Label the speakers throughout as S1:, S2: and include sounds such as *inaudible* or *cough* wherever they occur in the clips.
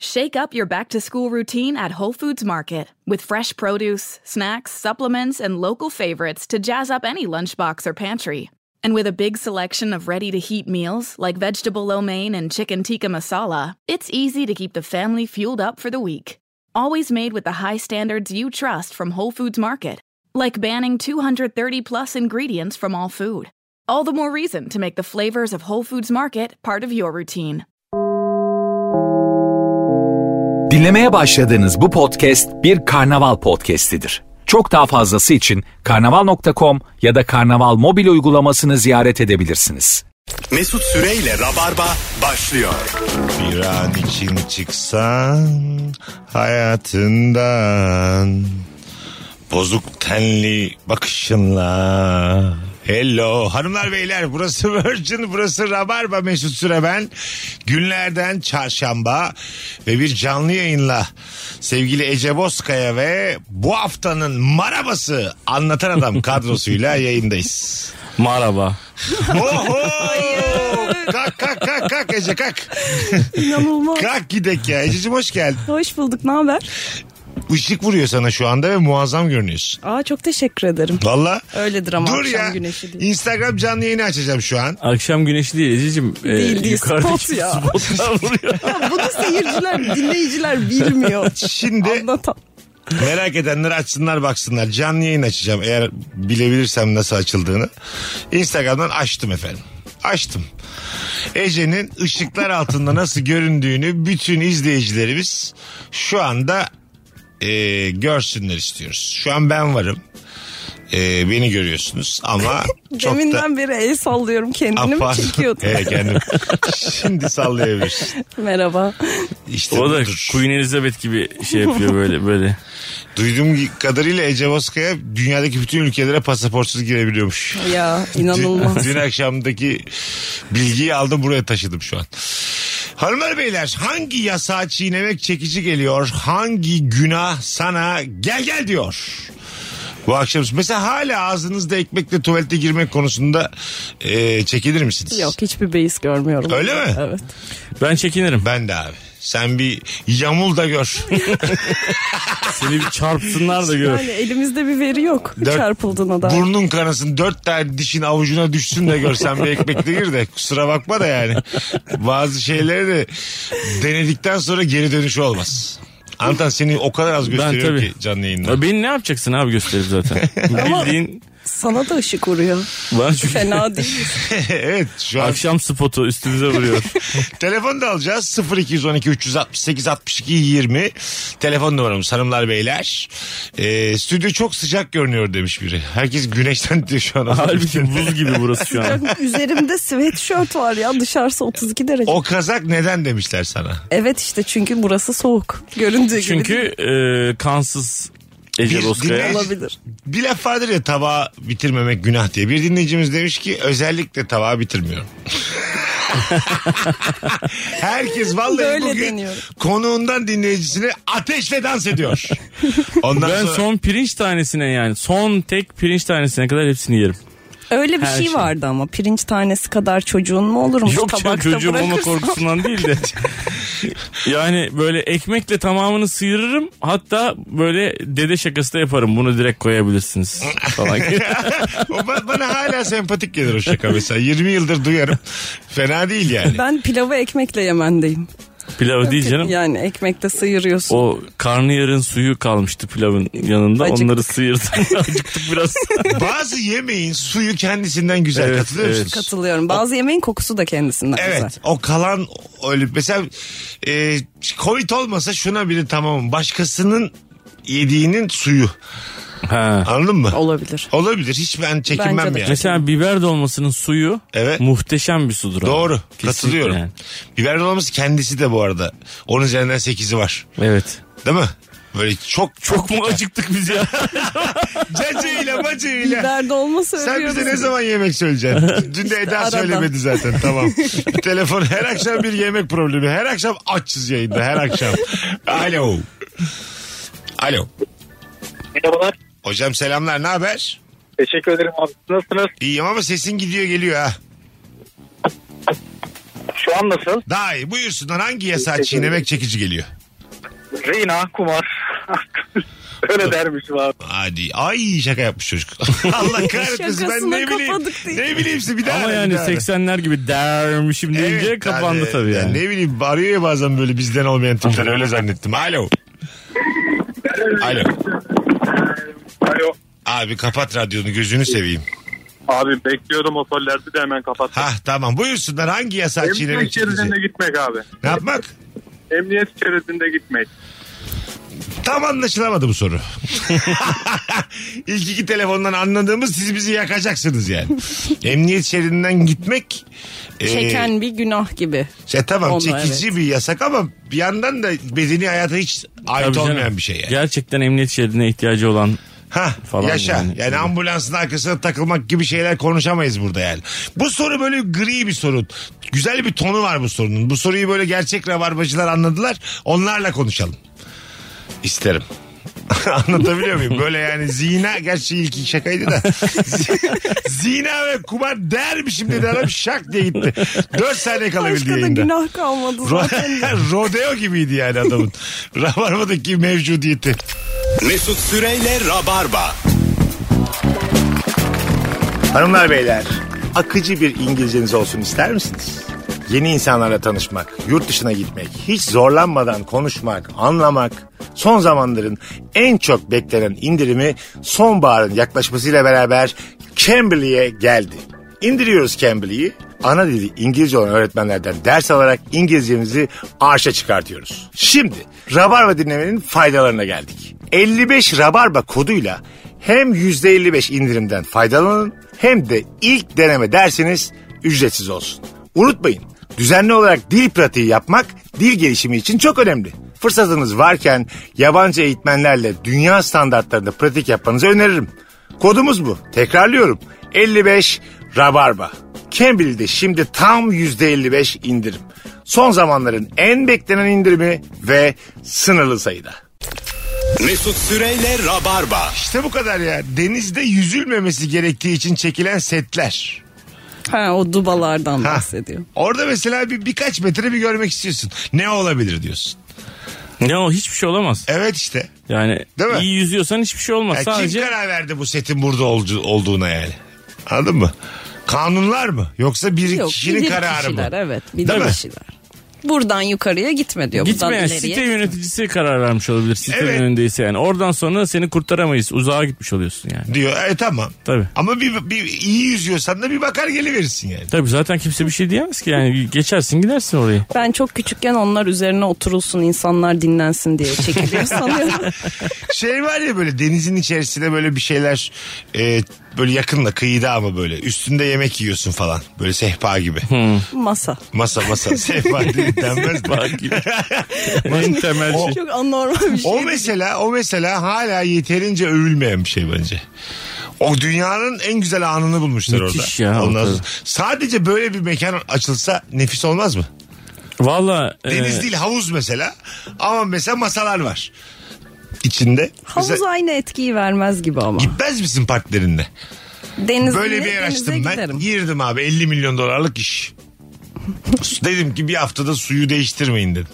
S1: Shake up your back to school routine at Whole Foods Market with fresh produce, snacks, supplements, and local favorites to jazz up any lunchbox or pantry. And with a big selection of ready to heat meals like vegetable lo mein and chicken tikka masala, it's easy to keep the family fueled up for the week. Always made with the high standards you trust from Whole Foods Market, like banning 230 plus ingredients from all food. All the more reason to make the flavors of Whole Foods Market part of your routine.
S2: Dinlemeye başladığınız bu podcast bir karnaval podcastidir. Çok daha fazlası için karnaval.com ya da karnaval mobil uygulamasını ziyaret edebilirsiniz.
S3: Mesut Süreyle Rabarba başlıyor.
S4: Bir an için çıksan hayatından Bozuk tenli bakışınla Hello hanımlar beyler burası Virgin burası Rabarba Mesut Süre ben günlerden çarşamba ve bir canlı yayınla sevgili Ece Bozkaya ve bu haftanın marabası anlatan adam kadrosuyla yayındayız.
S5: Merhaba.
S4: Oho! kalk kalk kalk kalk Ece kalk.
S6: İnanılmaz.
S4: Kalk gidek ya Ececiğim hoş geldin.
S6: Hoş bulduk. Ne haber?
S4: Işık vuruyor sana şu anda ve muazzam görünüyorsun.
S6: Aa çok teşekkür ederim.
S4: Valla.
S6: Öyledir ama
S4: Dur
S6: akşam
S4: ya.
S6: güneşi diye.
S4: Instagram canlı yayını açacağım şu
S6: *laughs*
S4: an.
S5: Akşam güneşi değil Ececiğim. Ee,
S6: Değil, değil,
S5: yukarıdaki
S6: spot ya.
S5: spotlar vuruyor.
S6: Bunu seyirciler, dinleyiciler bilmiyor.
S4: *laughs* Şimdi
S6: Anlatan.
S4: merak edenler açsınlar baksınlar. Canlı yayın açacağım eğer bilebilirsem nasıl açıldığını. Instagram'dan açtım efendim. Açtım. Ece'nin ışıklar altında nasıl göründüğünü bütün izleyicilerimiz şu anda e, görsünler istiyoruz. Şu an ben varım. E, beni görüyorsunuz ama çok da...
S6: Deminden beri el sallıyorum
S4: Ah,
S6: kendini mi
S4: pardon.
S6: çekiyordun?
S4: *laughs* Evet kendim. Şimdi sallayabilirsin.
S6: Merhaba.
S4: İşte
S5: O da
S4: budur.
S5: Queen Elizabeth gibi şey yapıyor böyle böyle.
S4: Duyduğum kadarıyla Ece Bozkaya dünyadaki bütün ülkelere pasaportsuz girebiliyormuş.
S6: Ya
S4: Dün-
S6: inanılmaz.
S4: Dün akşamdaki bilgiyi aldım buraya taşıdım şu an. Hanımlar beyler hangi yasağı çiğnemek çekici geliyor? Hangi günah sana gel gel diyor? Bu akşam mesela hala ağzınızda ekmekle tuvalete girmek konusunda e, çekilir misiniz?
S6: Yok hiçbir beis görmüyorum.
S4: Öyle mi?
S6: Evet.
S5: Ben çekinirim.
S4: Ben de abi. Sen bir yamul da gör.
S5: Seni bir çarpsınlar da gör.
S6: Yani elimizde bir veri yok
S4: Dört-
S6: çarpıldığına dair.
S4: Burnun kanasın dört tane dişin avucuna düşsün de görsen bir ekmek de gir de kusura bakma da yani. Bazı şeyleri de denedikten sonra geri dönüşü olmaz. Anlatan seni o kadar az gösteriyor ki
S5: tabii.
S4: canlı yayında.
S5: Ya Beni ne yapacaksın abi gösterip zaten. Bildiğin
S6: Sana da ışık vuruyor.
S5: bana
S4: *laughs*
S6: *laughs*
S5: çünkü
S6: Fena değil.
S4: *laughs* evet şu an
S5: akşam spotu üstümüze
S4: *laughs*
S5: vuruyor.
S4: telefon da alacağız 0212 368 62 20 telefon numaramız hanımlar beyler. Ee, stüdyo çok sıcak görünüyor demiş biri. Herkes güneşten diyor şu an.
S5: Halbuki buz gibi burası şu an.
S6: Üzerimde sweatshirt var ya dışarısı 32 derece.
S4: O kazak neden demişler sana?
S6: Evet işte çünkü burası soğuk. Göründüğü
S5: Çünkü
S6: gibi.
S5: e, kansız Ece
S4: Bir
S5: Bozkaya.
S4: dinleyici-
S6: olabilir.
S4: Bir laf vardır ya tabağı bitirmemek günah diye. Bir dinleyicimiz demiş ki özellikle tabağı
S6: *laughs*
S4: bitirmiyorum. Herkes vallahi
S6: Böyle
S4: bugün
S6: deniyorum.
S4: konuğundan dinleyicisine ateşle dans ediyor. Ondan
S5: Ben
S4: sonra
S5: son pirinç tanesine yani son tek pirinç tanesine kadar hepsini yerim.
S6: Öyle bir
S5: Her
S6: şey,
S5: şey.
S6: vardı ama pirinç tanesi kadar çocuğun mu olurmuş
S5: Yok
S6: tabakta
S5: canım çocuğum olma
S6: bırakırsın.
S5: korkusundan
S6: *laughs*
S5: değil de. yani böyle ekmekle tamamını sıyırırım. Hatta böyle dede şakası da yaparım. Bunu direkt koyabilirsiniz
S6: *laughs*
S5: falan.
S4: O ba- bana hala sempatik gelir o şaka mesela. 20 yıldır duyarım. Fena değil
S6: *laughs*
S4: yani.
S6: Ben pilavı ekmekle yemendeyim.
S5: Pilavı değil canım.
S6: Yani ekmekte sıyırıyorsun.
S5: O karnıyarın suyu kalmıştı pilavın yanında.
S6: Acıktık. *laughs*
S5: Onları sıyırdım. Acıktık biraz.
S4: Bazı yemeğin suyu kendisinden güzel
S5: Evet,
S4: katılıyor
S5: evet.
S4: musunuz?
S6: Katılıyorum. Bazı yemeğin kokusu da kendisinden
S4: Evet
S6: güzel.
S4: o kalan öyle mesela e, Covid olmasa şuna bile tamam başkasının yediğinin suyu
S5: ha.
S4: anladın mı?
S6: Olabilir.
S4: Olabilir hiç ben çekinmem
S6: Bence de.
S4: yani.
S5: Mesela biber dolmasının suyu
S4: Evet.
S5: muhteşem bir sudur. ama.
S4: Doğru
S5: Kesinlikle
S4: katılıyorum.
S5: yani.
S4: Biber dolması kendisi de bu arada. Onun üzerinden 8'i var
S5: Evet.
S4: değil mi? Böyle çok
S5: *laughs* Çok mu acıktık biz ya?
S4: cacığıyla bacığıyla.
S6: Biber dolma söylüyoruz.
S4: Sen bize ne zaman yemek
S5: *laughs*
S4: söyleyeceksin? Dün de Eda
S6: arada.
S4: söylemedi zaten tamam. Telefon her akşam bir yemek problemi. Her akşam açız yayında her akşam. Alo. Alo.
S7: Merhabalar.
S4: Hocam selamlar ne haber?
S7: Teşekkür ederim abi. Nasılsınız?
S4: İyiyim ama sesin gidiyor geliyor ha.
S7: Şu an an nasıl?
S4: Daha iyi. Buyursunlar hangi yasağı çiğnemek çekici geliyor?
S7: Rina, kumar. *laughs* Öyle dermiş abi.
S4: Hadi. Ay şaka yapmış çocuk. *laughs* Allah kahretmesin ben ne
S6: Şakasına
S4: bileyim.
S6: kapadık diye.
S4: Ne bileyim size bir daha.
S5: Ama
S4: ara, bir
S5: yani
S4: daha ara.
S5: 80'ler gibi dermişim deyince
S4: Evet,
S5: kapandı
S4: hani,
S5: tabii yani.
S4: Ne bileyim arıyor ya bazen böyle bizden olmayan tipler öyle zannettim. Alo. Alo.
S7: Alo.
S4: Abi kapat radyonu gözünü seveyim.
S7: Abi bekliyordum otellerde de hemen kapattım.
S4: Hah tamam buyursunlar hangi yasağı çiğnemek
S7: Emniyet
S4: çekici?
S7: şeridinde gitmek abi.
S4: Ne yapmak?
S7: Emniyet şeridinde gitmek.
S4: Tam anlaşılamadı bu soru. *laughs* İlk iki telefondan anladığımız siz bizi yakacaksınız yani. Emniyet şeridinden gitmek e,
S6: Çeken bir günah gibi.
S4: şey, tamam
S6: Onunla,
S4: çekici bir yasak ama bir yandan da bedeni hayata hiç ait
S5: Tabii canım.
S4: olmayan bir şey yani.
S5: Gerçekten emniyet şeridine ihtiyacı olan
S4: Ha
S5: falan
S4: yaşa. Yani,
S5: yani.
S4: ambulansın arkasına takılmak gibi şeyler konuşamayız burada yani. Bu soru böyle gri bir soru. Güzel bir tonu var bu sorunun. Bu soruyu böyle gerçek rabarbacılar anladılar. Onlarla konuşalım. İsterim. *laughs* Anlatabiliyor muyum? Böyle yani zina gerçi ilk şakaydı da. *laughs* Z- zina ve kumar dermişim dedi adam şak diye gitti. 4 saniye kalabildi
S6: Başka da
S4: yayında.
S6: günah kalmadı
S4: Ro-
S6: zaten.
S4: *laughs* Rodeo gibiydi yani *laughs* adamın. Rabarbadaki mevcudiyeti.
S3: Mesut Süreyle Rabarba.
S4: Hanımlar beyler akıcı bir İngilizceniz olsun ister misiniz? Yeni insanlarla tanışmak, yurt dışına gitmek, hiç zorlanmadan konuşmak, anlamak, son zamanların en çok beklenen indirimi sonbaharın yaklaşmasıyla beraber Cambly'e geldi. İndiriyoruz Cambly'i, ana dili İngilizce olan öğretmenlerden ders alarak İngilizcemizi arşa çıkartıyoruz. Şimdi Rabarba dinlemenin faydalarına geldik. 55 Rabarba koduyla hem %55 indirimden faydalanın hem de ilk deneme dersiniz ücretsiz olsun. Unutmayın düzenli olarak dil pratiği yapmak dil gelişimi için çok önemli. Fırsatınız varken yabancı eğitmenlerle dünya standartlarında pratik yapmanızı öneririm. Kodumuz bu. Tekrarlıyorum. 55 Rabarba. Cambly'de şimdi tam %55 indirim. Son zamanların en beklenen indirimi ve sınırlı sayıda.
S3: Mesut Süreyle Rabarba.
S4: İşte bu kadar ya. Denizde yüzülmemesi gerektiği için çekilen setler.
S6: Ha, o dubalardan
S4: Ha.
S6: bahsediyor.
S4: Orada mesela bir birkaç metre bir görmek istiyorsun. Ne olabilir diyorsun.
S5: ne o hiçbir şey olamaz.
S4: Evet işte.
S5: Yani
S4: E, Değil mi?
S5: iyi yüzüyorsan hiçbir şey olmaz.
S4: Ya
S5: Sadece
S4: Kim karar verdi bu setin burada olcu- olduğuna yani? Anladın mı? Kanunlar mı? Yoksa bir
S6: Yok
S4: kişinin
S6: bilir
S4: kararı
S6: kişiler
S4: mı?
S6: evet bilir
S4: Değil mi?
S6: kişiler. Buradan yukarıya gitme diyor.
S5: gitmeyen
S6: buradan
S5: site
S6: ileriye.
S5: yöneticisi karar vermiş olabilir. Site
S4: Evet.
S5: önündeyse yani. Oradan sonra seni kurtaramayız. Uzağa gitmiş oluyorsun yani.
S4: Diyor. E tamam.
S5: Tabii.
S4: Ama bir, bir iyi yüzüyorsan da bir bakar geliverirsin yani.
S5: Tabii zaten kimse bir şey diyemez ki yani. Geçersin
S4: *laughs*
S5: gidersin orayı.
S6: Ben çok küçükken onlar üzerine oturulsun insanlar dinlensin diye *laughs* çekiliyor sanıyorum.
S4: şey var ya böyle denizin içerisinde böyle bir şeyler e, böyle yakınla kıyıda ama böyle üstünde yemek yiyorsun falan. Böyle sehpa gibi.
S6: Masa.
S4: Masa masa
S5: *laughs*
S4: sehpa değil, denmez de.
S5: Bak
S4: *laughs*
S5: yine. en temel şey.
S6: Çok anormal bir şey.
S4: O mesela o mesela hala yeterince övülmeyen bir şey bence. O dünyanın en güzel anını bulmuşlar
S5: Müthiş
S4: orada.
S5: ya,
S4: Ondan
S5: tabii.
S4: sonra- sadece böyle bir mekan açılsa nefis olmaz mı?
S5: Valla.
S4: Deniz
S5: e,
S4: değil havuz mesela. Ama mesela masalar var. İçinde.
S6: Havuz
S4: Mesela
S6: aynı etkiyi vermez gibi ama.
S4: gitmez misin partnerinle?
S6: Deniz
S4: Böyle bir yer açtım ben. Girdim abi 50 milyon dolarlık iş. *laughs* dedim ki bir haftada suyu değiştirmeyin dedim.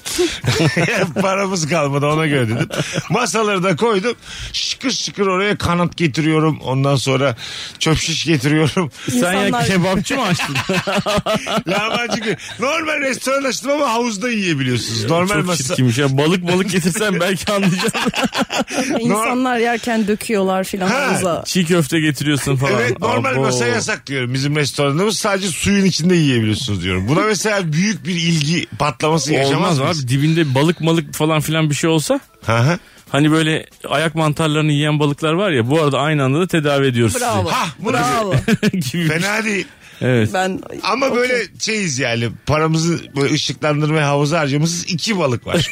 S4: *laughs* Paramız kalmadı ona göre dedim. Masaları da koydum. Şıkır şıkır oraya kanat getiriyorum. Ondan sonra çöp şiş getiriyorum.
S5: sen ya
S6: İnsanlar-
S5: kebapçı
S4: *laughs*
S5: mı açtın?
S4: Lahmacun gibi. Normal restoran açtım ama havuzda yiyebiliyorsunuz. Normal
S5: Çok
S4: masa.
S5: çirkinmiş ya. şey. Balık balık getirsen belki anlayacaksın.
S6: İnsanlar yerken döküyorlar filan
S4: Ha,
S6: havuza.
S5: Çiğ köfte getiriyorsun falan.
S4: Evet normal
S5: Abo.
S4: masa yasak diyorum bizim restoranımız sadece suyun içinde yiyebiliyorsunuz diyorum. Buna mesela büyük bir ilgi patlaması yaşamaz
S5: Olmaz
S4: mıyız?
S5: abi dibinde balık malık falan filan bir şey olsa
S4: Hı hı.
S5: hani böyle ayak mantarlarını yiyen balıklar var ya bu arada aynı anda da tedavi ediyoruz
S6: Bravo.
S4: Ha, bu da-
S6: Bravo.
S5: sizi. *laughs* gibi.
S4: Fena değil.
S5: Evet.
S6: ben
S4: Ama böyle şeyiz yani paramızı böyle ışıklandırmaya havuza harcamışız iki balık
S6: *laughs*
S4: var.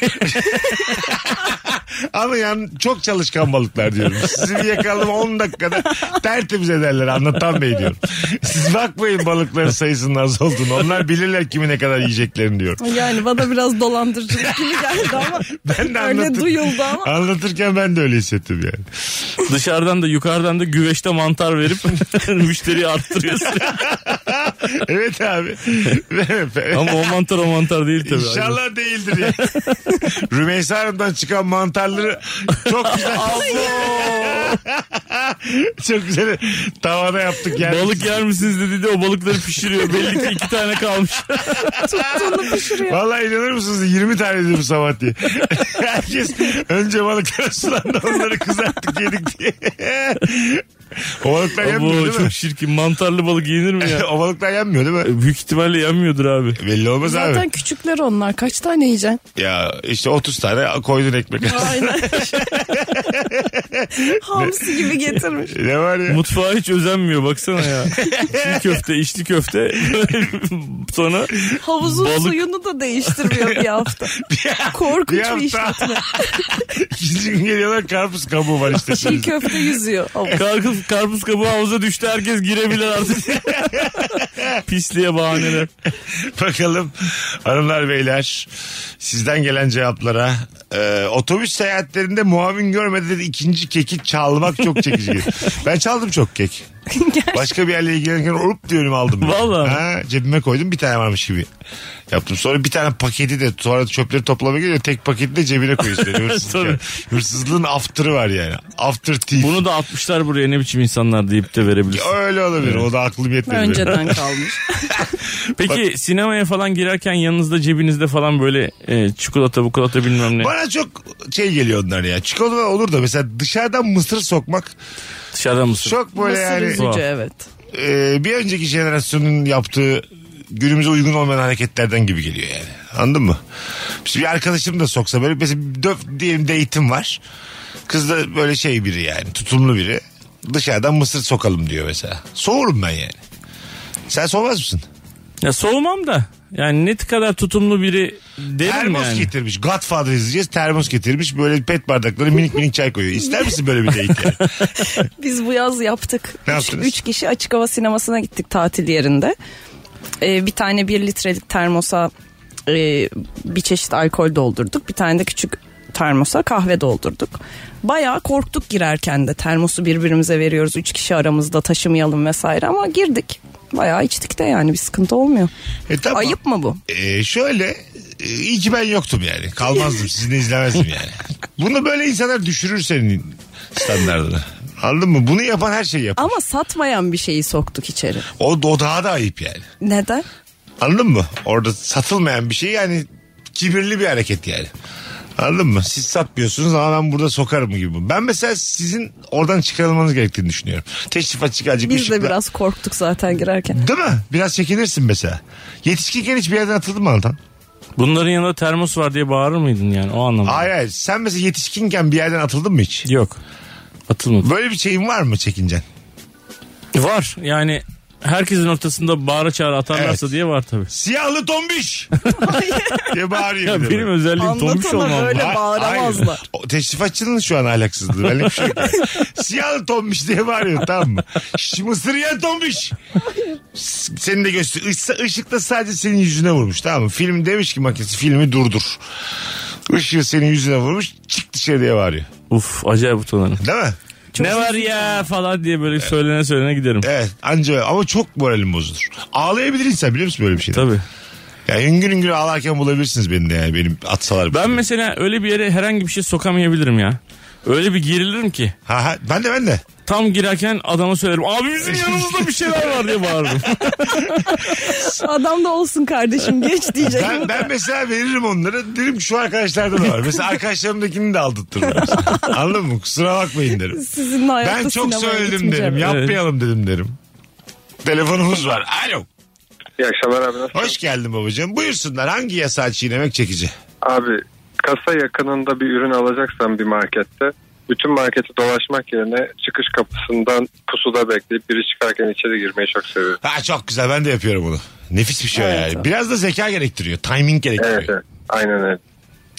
S4: Ama yani çok çalışkan balıklar diyorum. Sizi bir yakaladım 10 dakikada tertemiz ederler anlatan bey diyorum. Siz bakmayın balıkların sayısının az olduğunu. Onlar bilirler kimi ne kadar yiyeceklerini diyorum.
S6: yani bana biraz dolandırıcılık gibi geldi ama
S4: *laughs* Ben de
S6: öyle
S4: anlatır-
S6: duyuldu ama.
S4: Anlatırken ben de öyle hissettim yani. *laughs*
S5: *laughs* Dışarıdan da yukarıdan da güveçte mantar verip müşteriyi arttırıyorsun.
S4: evet
S6: *laughs*
S4: abi.
S5: Ama o mantar o mantar değil tabii.
S4: İnşallah değildir ya. *laughs* Rümeysa Hanım'dan çıkan mantarları çok güzel. *laughs* çok güzel tavada yaptık yani.
S5: Balık yer misiniz dedi de o balıkları pişiriyor. Belli ki iki
S4: *laughs*
S5: tane kalmış.
S4: Vallahi inanır mısınız 20 tane dedim sabah diye. *laughs* Herkes önce balıkları *laughs* sulandı onları kızarttık yedik diye. o balıklar yenmiyor
S5: Bu
S4: değil mi?
S5: çok şirkin. Mantarlı balık yenir mi ya?
S4: *laughs*
S5: E,
S4: o balıklar yenmiyor değil mi?
S5: Büyük ihtimalle yenmiyordur abi.
S4: Belli olmaz
S6: Zaten
S4: abi.
S6: küçükler onlar. Kaç tane yiyeceksin?
S4: Ya işte 30 tane koydun ekmek.
S6: Aynen.
S4: *laughs*
S6: Hamsi gibi getirmiş.
S4: ne var ya?
S5: Mutfağa hiç özenmiyor
S4: *laughs*
S5: baksana ya. İçli köfte, içli köfte. *laughs* Sonra
S6: Havuzun
S5: Balık.
S6: suyunu da değiştirmiyor bir hafta.
S4: *laughs*
S6: Korkunç
S4: bir
S6: bir,
S4: hafta.
S6: işletme.
S4: İkinci gün geliyorlar karpuz kabuğu var işte.
S6: Çiğ köfte yüzüyor. havuz.
S5: karpuz, karpuz kabuğu havuza düştü. Herkes
S4: *laughs*
S5: girebilir artık. Pisliğe bahaneler.
S4: Bakalım hanımlar beyler sizden gelen cevaplara Ee, otobüs seyahatlerinde muavin görmeden ikinci keki çalmak çok çekici.
S5: *laughs*
S4: gelir. ben çaldım çok kek. Başka bir yerle ilgilenirken olup diye önüme aldım.
S5: Vallahi.
S4: Ha, cebime koydum bir tane varmış gibi yaptım. Sonra bir tane paketi de sonra çöpleri toplamaya gidiyor tek paketi de cebine koyuyorsun.
S5: *laughs*
S4: Yani hırsızlık
S5: Tabii.
S4: yani. Hırsızlığın after'ı var yani. After thief.
S5: Bunu da atmışlar buraya ne biçim insanlar deyip de verebilirsin.
S4: Öyle olabilir. O da aklım yetmedi. benim.
S6: Önceden kalmış.
S5: Peki sinemaya falan girerken yanınızda cebinizde falan böyle e, çikolata bukolata bilmem ne.
S4: Bana çok şey geliyor onlar ya. Çikolata olur da mesela dışarıdan mısır sokmak
S5: Dışarıda mısın?
S4: çok *laughs* böyle
S6: Mısır
S4: yani
S6: üzücü evet.
S4: e, bir önceki jenerasyonun yaptığı günümüze uygun olmayan hareketlerden gibi geliyor yani. Anladın mı? Şimdi bir arkadaşım da soksa böyle mesela döf diyelim date'im var. Kız da böyle şey biri yani tutumlu biri. Dışarıdan mısır sokalım diyor mesela. Soğurum ben yani. Sen soğumaz mısın?
S5: Ya soğumam da. Yani net kadar tutumlu biri derim
S4: Termos
S5: yani.
S4: getirmiş. Godfather izleyeceğiz. Termos getirmiş. Böyle pet bardakları minik minik çay koyuyor. İster misin böyle bir date yani?
S6: *laughs* Biz bu yaz yaptık.
S4: Ne
S6: üç,
S4: yaptınız?
S6: üç kişi açık hava sinemasına gittik tatil yerinde. Ee, bir tane bir litrelik termosa e, bir çeşit alkol doldurduk. Bir tane de küçük termosa kahve doldurduk. Bayağı korktuk girerken de termosu birbirimize veriyoruz. Üç kişi aramızda taşımayalım vesaire ama girdik. Bayağı içtik de yani bir sıkıntı olmuyor.
S4: E tamam.
S6: Ayıp mı bu?
S4: Ee, şöyle e, iyi ki ben yoktum yani. Kalmazdım sizinle izlemezdim yani. Bunu böyle insanlar düşürür senin standartını. Anladın mı? Bunu yapan her şeyi yapar.
S6: Ama satmayan bir şeyi soktuk içeri.
S4: O, o daha da ayıp yani.
S6: Neden?
S4: Anladın mı? Orada satılmayan bir şey yani kibirli bir hareket yani. Anladın mı? Siz satmıyorsunuz ama ben burada sokarım gibi. Ben mesela sizin oradan çıkarılmanız gerektiğini düşünüyorum. Teşrifat çıkaracak
S6: Biz de biraz korktuk zaten girerken.
S4: Değil mi? Biraz çekinirsin mesela. Yetişkinken hiçbir yerden atıldın mı Altan?
S5: Bunların yanında termos var diye bağırır mıydın yani o anlamda?
S4: Hayır hayır. Sen mesela yetişkinken bir yerden atıldın mı hiç?
S5: Yok. Atılmadı.
S4: Böyle bir şeyin var mı çekincen?
S5: Var yani herkesin ortasında bağıra çağıra atarlarsa
S4: Evet.
S5: diye var tabii.
S4: Siyahlı tombiş diye bağırıyor.
S5: Ya
S4: bir de
S5: benim
S4: böyle.
S5: özelliğim tombiş
S6: Anlatana
S5: olmam.
S6: böyle
S4: Ha-
S6: bağıramazlar.
S4: hayır. O teşrifatçının şu an ahlaksızlığı. Benlik bir şey yok. Siyahlı tombiş diye bağırıyor tamam mı? Şş, mısır yiyen tombiş. S- Seni de göster. Işıkta ışıkta sadece senin yüzüne vurmuş tamam mı? Film demiş ki makinesi filmi durdur. Işığı senin yüzüne vurmuş çık dışarı diye bağırıyor.
S5: Uf acayip utanırım.
S4: Değil mi?
S5: ne var ya falan diye böyle söylene söylene giderim.
S4: Evet anca öyle. ama çok moralim bozulur. Ağlayabilir insan biliyor musun böyle bir şeyden?
S5: Tabii.
S4: Yani hüngür hüngür ağlarken bulabilirsiniz beni de yani benim atsalar.
S5: Ben mesela öyle bir yere herhangi bir şey sokamayabilirim ya. Öyle bir gerilirim ki.
S4: şey. Ha, ha, ben de ben de.
S5: Tam girerken adama söylerim. Abi bizim yanımızda bir şeyler var diye bağırırım. *laughs*
S6: Adam da olsun kardeşim geç diyecek.
S4: Ben, ben mesela veririm onları. Derim ki şu arkadaşlarda da var. Mesela arkadaşlarımdakini de aldırtırım. mesela. Anladın mı? Kusura bakmayın derim.
S6: Sizinle hayatta
S4: Ben çok
S6: sinemaya
S4: söyledim
S6: gitmeyeceğim.
S4: derim. Yapmayalım dedim derim. Telefonumuz var. Alo.
S7: İyi akşamlar abi nasılsın?
S4: Hoş geldin babacığım. Buyursunlar. Hangi yasağı çiğnemek çekici?
S7: Abi kasa yakınında bir ürün alacaksan bir markette bütün marketi dolaşmak yerine çıkış kapısından pusuda bekleyip biri çıkarken içeri girmeyi çok seviyorum.
S4: Ha çok güzel. Ben de yapıyorum onu. Nefis bir şey o
S6: Evet,
S4: yani.
S6: o.
S4: Biraz da zeka gerektiriyor. Timing gerektiriyor.
S7: Evet, evet. Aynen öyle.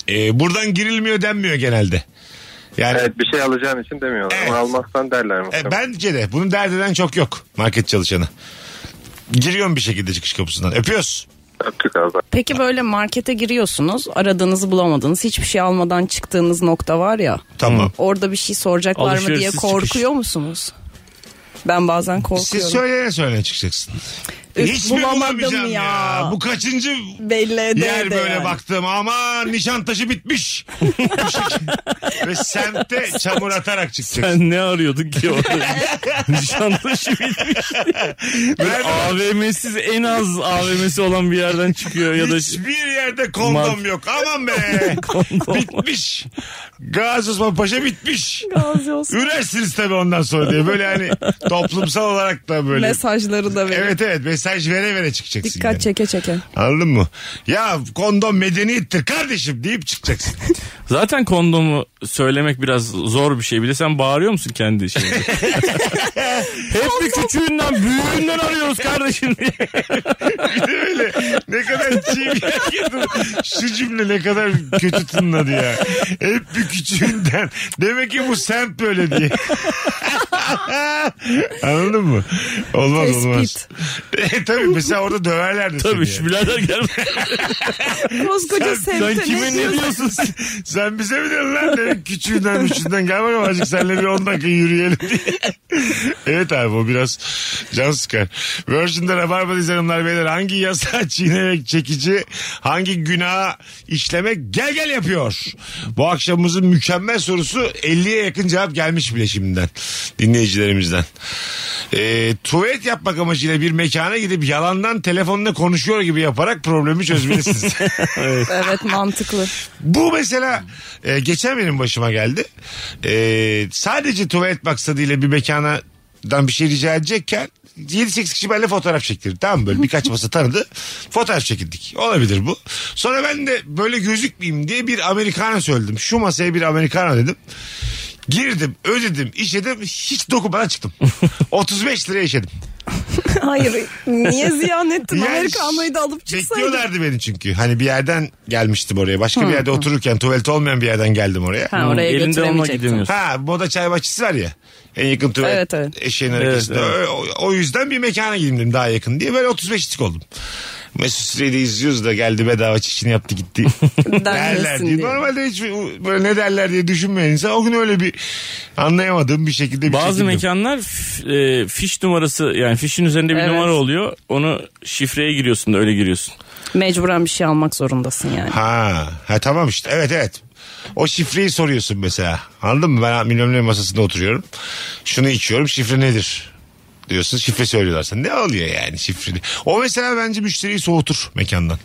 S4: Ee, buradan girilmiyor denmiyor genelde. Yani
S7: Evet bir şey alacağın için demiyorlar
S4: Evet.
S7: ama almazsan derler muhtemelen.
S4: E, bence de. Bunu dert eden çok yok market çalışanı. Giriyorum bir şekilde çıkış kapısından. Öpüyoruz.
S7: Öptük abi.
S6: Peki böyle markete giriyorsunuz aradığınızı bulamadınız hiçbir şey almadan çıktığınız nokta var ya.
S4: Tamam.
S6: Orada bir şey soracaklar mı diye
S5: Alışverişsiz
S6: korkuyor musunuz? Ben bazen korkuyorum. *laughs*
S4: Siz söyleyene söyleyene çıkacaksın.
S6: Üf,
S4: Hiç mi bulamayacağım ya? Bu kaçıncı
S6: Belli ede
S4: yer
S6: ede
S4: böyle
S6: yani.
S4: baktım. Aman Nişantaşı bitmiş. Ve semte çamur atarak çıkacaksın.
S5: Sen ne arıyordun ki orada? *laughs* Nişantaşı bitmiş. Böyle
S4: Nerede?
S5: AVM'siz en az AVM'si olan bir yerden çıkıyor ya da
S4: Hiçbir yerde kondom
S5: Mad-
S4: yok. Aman be.
S5: *laughs* Kondom.
S4: bitmiş. Gazi Osman Paşa bitmiş.
S6: Gazi olsun.
S4: Ürersiniz tabii ondan sonra diye. Böyle hani toplumsal olarak da böyle.
S6: Mesajları da verin.
S4: Evet evet mesaj vere vere çıkacaksın.
S6: Dikkat
S4: yani.
S6: çeke çeke.
S4: Anladın mı? Ya kondom medeniyettir kardeşim deyip çıkacaksın. *laughs*
S5: Zaten kondomu söylemek biraz zor bir şey. Bir de sen bağırıyor musun kendi şeyini? Hep bir küçüğünden büyüğünden arıyoruz kardeşim diye.
S4: Öyle ne kadar çiğ bir hareket. Şu cümle ne kadar kötü tınladı ya. Hep bir küçüğünden. Demek ki bu semt böyle diye. *laughs* Anladın mı? Olmaz
S6: Tespit.
S4: olmaz. E, tabii mesela orada döverlerdi
S5: Tabii
S4: seni.
S5: şu birader *laughs* gelme.
S6: Koskoca
S5: Sen
S6: semte
S5: kime
S6: ne
S5: ne
S6: diyorsun?
S5: diyorsun sen?
S4: Sen bize mi dedin lan? Demek küçüğünden üçünden gel bakalım azıcık seninle bir 10 dakika yürüyelim *laughs* diye. evet abi o biraz can sıkar. Virgin'de Rabarba'dayız hanımlar beyler. Hangi yasa *laughs* çiğnemek çekici, hangi günah işlemek gel gel yapıyor. Bu akşamımızın mükemmel sorusu 50'ye yakın cevap gelmiş bile şimdiden dinleyicilerimizden. Ee, tuvalet yapmak amacıyla bir mekana gidip yalandan telefonla konuşuyor gibi yaparak problemi *laughs* çözmelisiniz.
S6: Evet mantıklı.
S4: Bu mesela e, geçen benim başıma geldi. E, sadece tuvalet maksadıyla bir mekanadan bir şey rica edecekken 7-8 kişi benimle fotoğraf çektirdi. Tamam mı? böyle birkaç masa tanıdı. Fotoğraf çekildik. Olabilir bu. Sonra ben de böyle gözükmeyeyim diye bir Amerikana söyledim. Şu masaya bir Amerikana dedim. Girdim, ödedim, işedim. Hiç dokunmadan
S6: *laughs*
S4: çıktım. 35 liraya işedim.
S6: Hayır niye ziyan ettin?
S4: *laughs* Yani
S6: Amerikanlı'yı da alıp çıksaydın.
S4: Bekliyorlardı beni çünkü. Hani bir yerden gelmiştim oraya. Başka bir yerde otururken tuvalet olmayan bir yerden geldim oraya.
S6: Ha, oraya
S5: Elinde onunla
S6: götüremeyecektin.
S5: gidemiyorsun.
S4: Ha moda çay bahçesi var ya. En yakın tuvalet
S6: Evet, evet.
S4: eşeğin arkasında.
S5: Evet,
S4: O, o yüzden bir mekana gideyim dedim daha yakın diye. Böyle 35'lik oldum. Mesut Süreyi de izliyoruz da geldi bedava çişini yaptı gitti. derler
S6: Denmesin
S4: diye.
S6: diye.
S4: Normalde hiç böyle ne derler diye düşünmeyen insan o gün öyle bir anlayamadığım bir şekilde bir
S5: Bazı
S4: çekindim.
S5: mekanlar f- e, fiş numarası yani fişin üzerinde bir
S6: Evet.
S5: numara oluyor. Onu şifreye giriyorsun da öyle giriyorsun.
S6: Mecburen bir şey almak zorundasın yani.
S4: Ha, ha tamam işte evet evet. O şifreyi soruyorsun mesela. Anladın mı? Ben milyonların masasında oturuyorum. Şunu içiyorum şifre nedir? diyorsun şifre söylüyorlar sana. Ne oluyor yani şifreli? O mesela bence müşteriyi soğutur mekandan.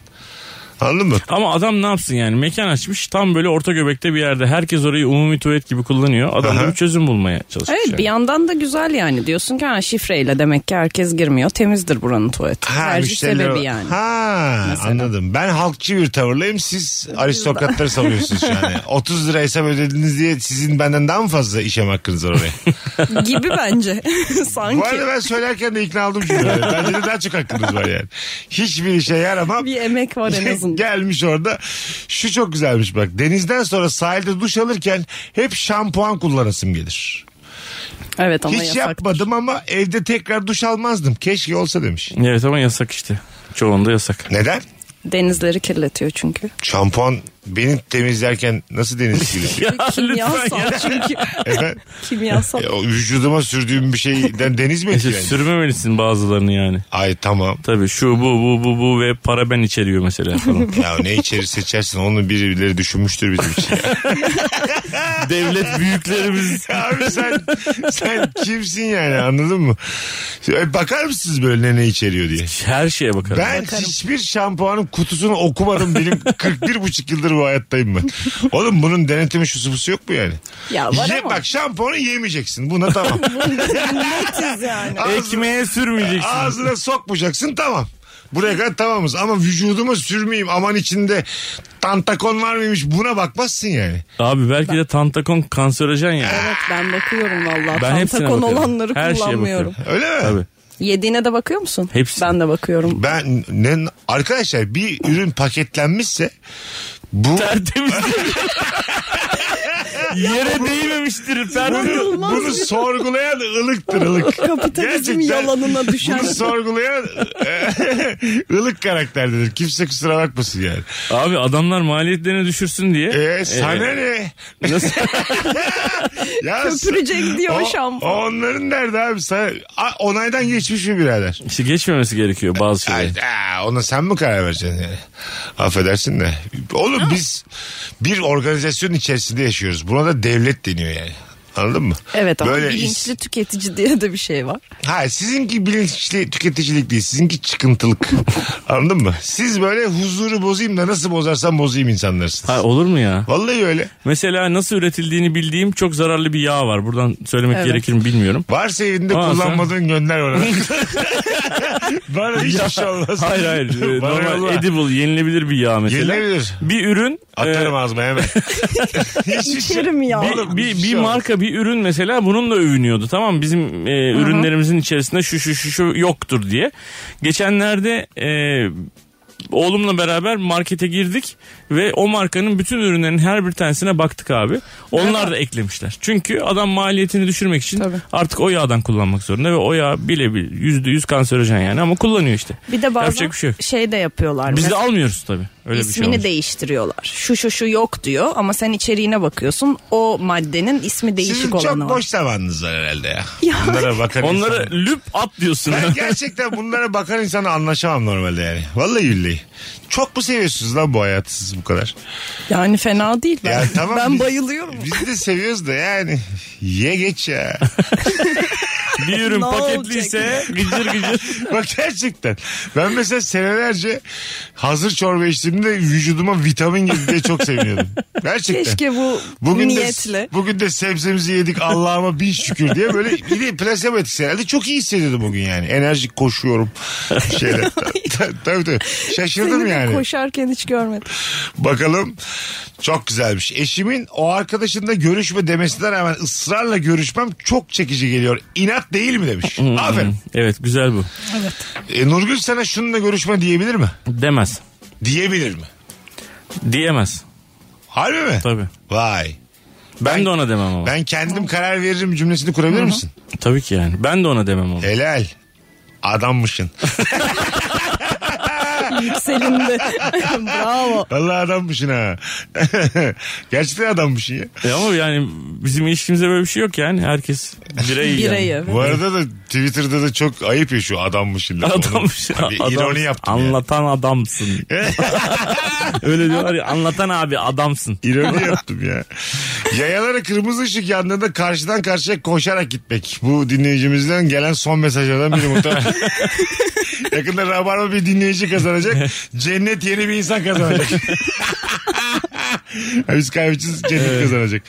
S4: Anladın mı?
S5: Ama adam ne yapsın yani mekan açmış tam böyle orta göbekte bir yerde. Herkes orayı umumi tuvalet gibi kullanıyor. Adam da
S4: Aha.
S5: bir çözüm bulmaya çalışıyor.
S6: Evet
S4: şey.
S6: bir yandan da güzel yani diyorsun ki ha şifreyle demek ki herkes girmiyor temizdir buranın tuvaleti. Tercih
S4: müşteriler-
S6: sebebi yani.
S4: Ha
S6: Mesela.
S4: anladım. Ben halkçı bir tavırlayım. Siz aristokratları savunuyorsunuz yani.
S6: *laughs*
S4: 30 lira hesap ödediniz diye sizin benden daha mı fazla işem hakkınız var oraya?
S6: *laughs* Gibi bence *laughs*
S4: Bu
S6: sanki.
S4: arada ben söylerken de ikna oldum şimdi. Bence de daha çok hakkınız var yani. Hiçbir işe yaramam.
S6: Bir emek var
S4: *laughs*
S6: en azından.
S4: Gelmiş orada. Şu çok güzelmiş bak. Denizden sonra sahilde duş alırken hep şampuan kullanasım gelir.
S6: Evet ama
S4: Hiç
S6: yasak.
S4: yapmadım ama evde tekrar duş almazdım. Keşke olsa demiş.
S5: Evet ama yasak işte. Çoğunda yasak.
S4: Neden?
S6: Denizleri kirletiyor çünkü.
S4: Şampuan beni temizlerken nasıl deniz
S5: *laughs*
S4: gibi? *laughs*
S5: Ya lütfen *laughs*
S6: Kimyasal
S5: ya.
S6: çünkü.
S4: Efendim?
S6: Kimyasal.
S4: E, o vücuduma sürdüğüm bir şeyden deniz
S5: *laughs*
S4: mi
S5: Mesela
S4: etkilenir?
S5: sürmemelisin bazılarını yani.
S4: Ay tamam.
S5: Tabii şu bu bu bu bu ve paraben içeriyor mesela *laughs* falan.
S4: Ya ne içeri seçersin onu birileri düşünmüştür bizim için.
S5: Devlet büyüklerimiz
S4: *laughs* Abi sen, sen kimsin yani anladın mı? E, Bakar mısınız böyle ne ne içeriyor diye?
S5: her şeye bakar.
S4: Ben hiçbir şampuanın kutusunu okumadım. Benim 41 buçuk yıldır bu hayattayım ben. Oğlum bunun denetimi şusu busu yok mu yani?
S6: Ya var
S4: Ye,
S6: ama.
S4: Bak şampuanı yemeyeceksin. Buna
S6: *laughs*
S4: tamam.
S6: Siz yani.
S4: Ağzına,
S5: Ekmeğe sürmeyeceksin.
S4: ağzına sokmayacaksın tamam. Buraya kadar tamamız ama vücuduma sürmeyeyim aman içinde tantakon var mıymış buna bakmazsın yani.
S5: Abi belki de tantakon kanserojen yani.
S6: Evet ben bakıyorum valla.
S5: Ben hepsine
S6: Tantakon
S5: bakarım.
S6: olanları
S5: Her şeye
S6: kullanmıyorum.
S5: bakarım.
S4: Öyle mi?
S5: Tabii.
S6: Yediğine de bakıyor musun?
S5: Hepsine.
S6: Ben de bakıyorum.
S4: Ben ne, arkadaşlar *laughs* bir ürün paketlenmişse bu
S5: Tertemiz. Yere değmemiştir. Perde.
S4: Bunu, bunu sorgulayan ılıktır
S6: *laughs*
S4: ılık.
S6: Kapitalizm
S4: Gerçekten
S6: yalanına düşen.
S4: Bunu sorgulayan e, *laughs* ılık karakterdir. Kimse kusura bakmasın yani.
S5: Abi adamlar maliyetlerini düşürsün diye.
S4: E, sana ne?
S5: Nasıl?
S4: Ya,
S6: Köpürecek diyor
S4: o-
S6: şampuan.
S4: Onların nerede abi? Sana, A- onaydan geçmiş mi birader?
S5: İşte geçmemesi gerekiyor bazı şeyler.
S4: Ay, aa, ona sen mi karar vereceksin yani? Affedersin de. Oğlum biz bir organizasyonun içerisinde yaşıyoruz. Buna da devlet deniyor yani. Anladın mı?
S6: Evet ama
S4: Böyle
S6: bilinçli tüketici *laughs* diye de bir şey var.
S4: Ha sizinki bilinçli tüketicilik değil. Sizinki
S5: *laughs*
S4: çıkıntılık. Anladın mı? Siz böyle huzuru bozayım da nasıl bozarsam bozayım insanlarsınız.
S5: Ha, olur mu ya?
S4: Vallahi öyle.
S5: Mesela nasıl üretildiğini bildiğim çok zararlı bir yağ var. Buradan söylemek
S6: Evet.
S5: gerekir mi bilmiyorum.
S4: Varsa evinde
S5: Aa,
S4: kullanmadığın gönder
S5: *laughs*
S4: bana. bana hiçbir şey olmaz. *laughs*
S5: Hayır hayır. Ee,
S4: Bana yolla.
S5: Normal edible yenilebilir bir yağ mesela.
S4: Yenilebilir.
S5: Bir ürün.
S4: Atarım
S5: e,
S4: ağzıma hemen. Hiçbir şey-
S6: İçerim ya.
S5: bir, bir,
S4: bir şey
S5: bir
S4: olmaz.
S5: marka bir ürün mesela bununla övünüyordu tamam mı? bizim e, ürünlerimizin içerisinde şu şu şu şu yoktur diye. Geçenlerde e, oğlumla beraber markete girdik ve o markanın bütün ürünlerinin her bir tanesine baktık abi. Onlar da eklemişler. Çünkü adam maliyetini düşürmek için
S6: Tabii.
S5: artık o yağdan kullanmak zorunda ve o yağ bile bile yüzde yüz kanserojen yani ama kullanıyor işte.
S6: Bir de bazen
S5: Yapacak bir şey yok.
S6: şey de yapıyorlar.
S5: Biz de
S6: Mesela
S5: almıyoruz tabii. Öyle bir şey
S6: ismini
S5: olmuş.
S6: değiştiriyorlar. Şu şu şu yok diyor ama sen içeriğine bakıyorsun. O maddenin ismi değişik
S4: Sizin çok
S6: olanı var.
S4: boş zamanınız var herhalde ya.
S6: Ya.
S4: Bunlara bakan
S5: Onlara
S4: insan-
S5: lüp at
S6: *laughs*
S5: diyorsun.
S4: Ben gerçekten bunlara bakan insana anlaşamam normalde yani. Vallahi billahi. Çok mu seviyorsunuz lan bu hayatı siz bu kadar?
S6: Yani fena değil. Ben,
S4: Ya tamam,
S6: ben
S4: biz-
S6: bayılıyorum.
S4: Biz de seviyoruz da yani. Ye geç ya. *laughs*
S5: bir ürün
S6: Ne
S5: paketliyse gıcır gıcır.
S4: Bak gerçekten. Ben mesela senelerce hazır çorba içtiğimde vücuduma vitamin girdi diye çok seviniyordum. Gerçekten.
S6: Keşke bu
S4: Bugün
S6: niyetle.
S4: de, bugün de sebzemizi yedik Allah'ıma bin şükür diye böyle bir de plasebo etkisi herhalde çok iyi hissediyordum bugün yani. Enerjik koşuyorum. Bir
S6: *laughs*
S4: Şeyler. tabii tabii. Şaşırdım
S6: Seni de
S4: yani.
S6: koşarken hiç görmedim.
S4: Bakalım çok güzelmiş. Eşimin o arkadaşınla görüşme demesine rağmen ısrarla görüşmem çok çekici geliyor. İnat değil mi demiş.
S6: Hmm.
S4: Aferin.
S5: Evet güzel bu.
S4: E, Nurgül sana şununla görüşme diyebilir mi?
S5: Demez.
S4: Diyebilir mi?
S5: Diyemez.
S4: Harbi mi?
S5: Tabii.
S4: Vay.
S5: Ben, de ona demem ama.
S4: Ben kendim karar veririm cümlesini kurabilir misin?
S5: Tabii ki yani. Ben de ona demem ama.
S4: Helal. Adammışsın.
S6: Yükselinde.
S4: *laughs*
S6: Bravo.
S4: Vallahi adammışsın ha. *laughs* Gerçekten adammışsın ya.
S5: E ama yani bizim ilişkimizde böyle bir şey yok yani. Herkes birey
S6: Bireyi.
S5: yani.
S4: Bu arada da Twitter'da da çok ayıp ya şu adammışın. lafı.
S5: Adam,
S4: Onu- Bir ironi yaptım yani. *laughs*
S5: Anlatan adamsın. Öyle diyorlar ya anlatan abi adamsın.
S4: İroni yaptım ya. Yayalara kırmızı ışık yandığında karşıdan karşıya koşarak gitmek. Bu dinleyicimizden gelen son mesajlardan biri muhtemelen. Yakında Rabarba bir dinleyici kazanacak. Cennet yeni bir insan kazanacak. Ha, Biz kaybedeceğiz cennet kazanacak.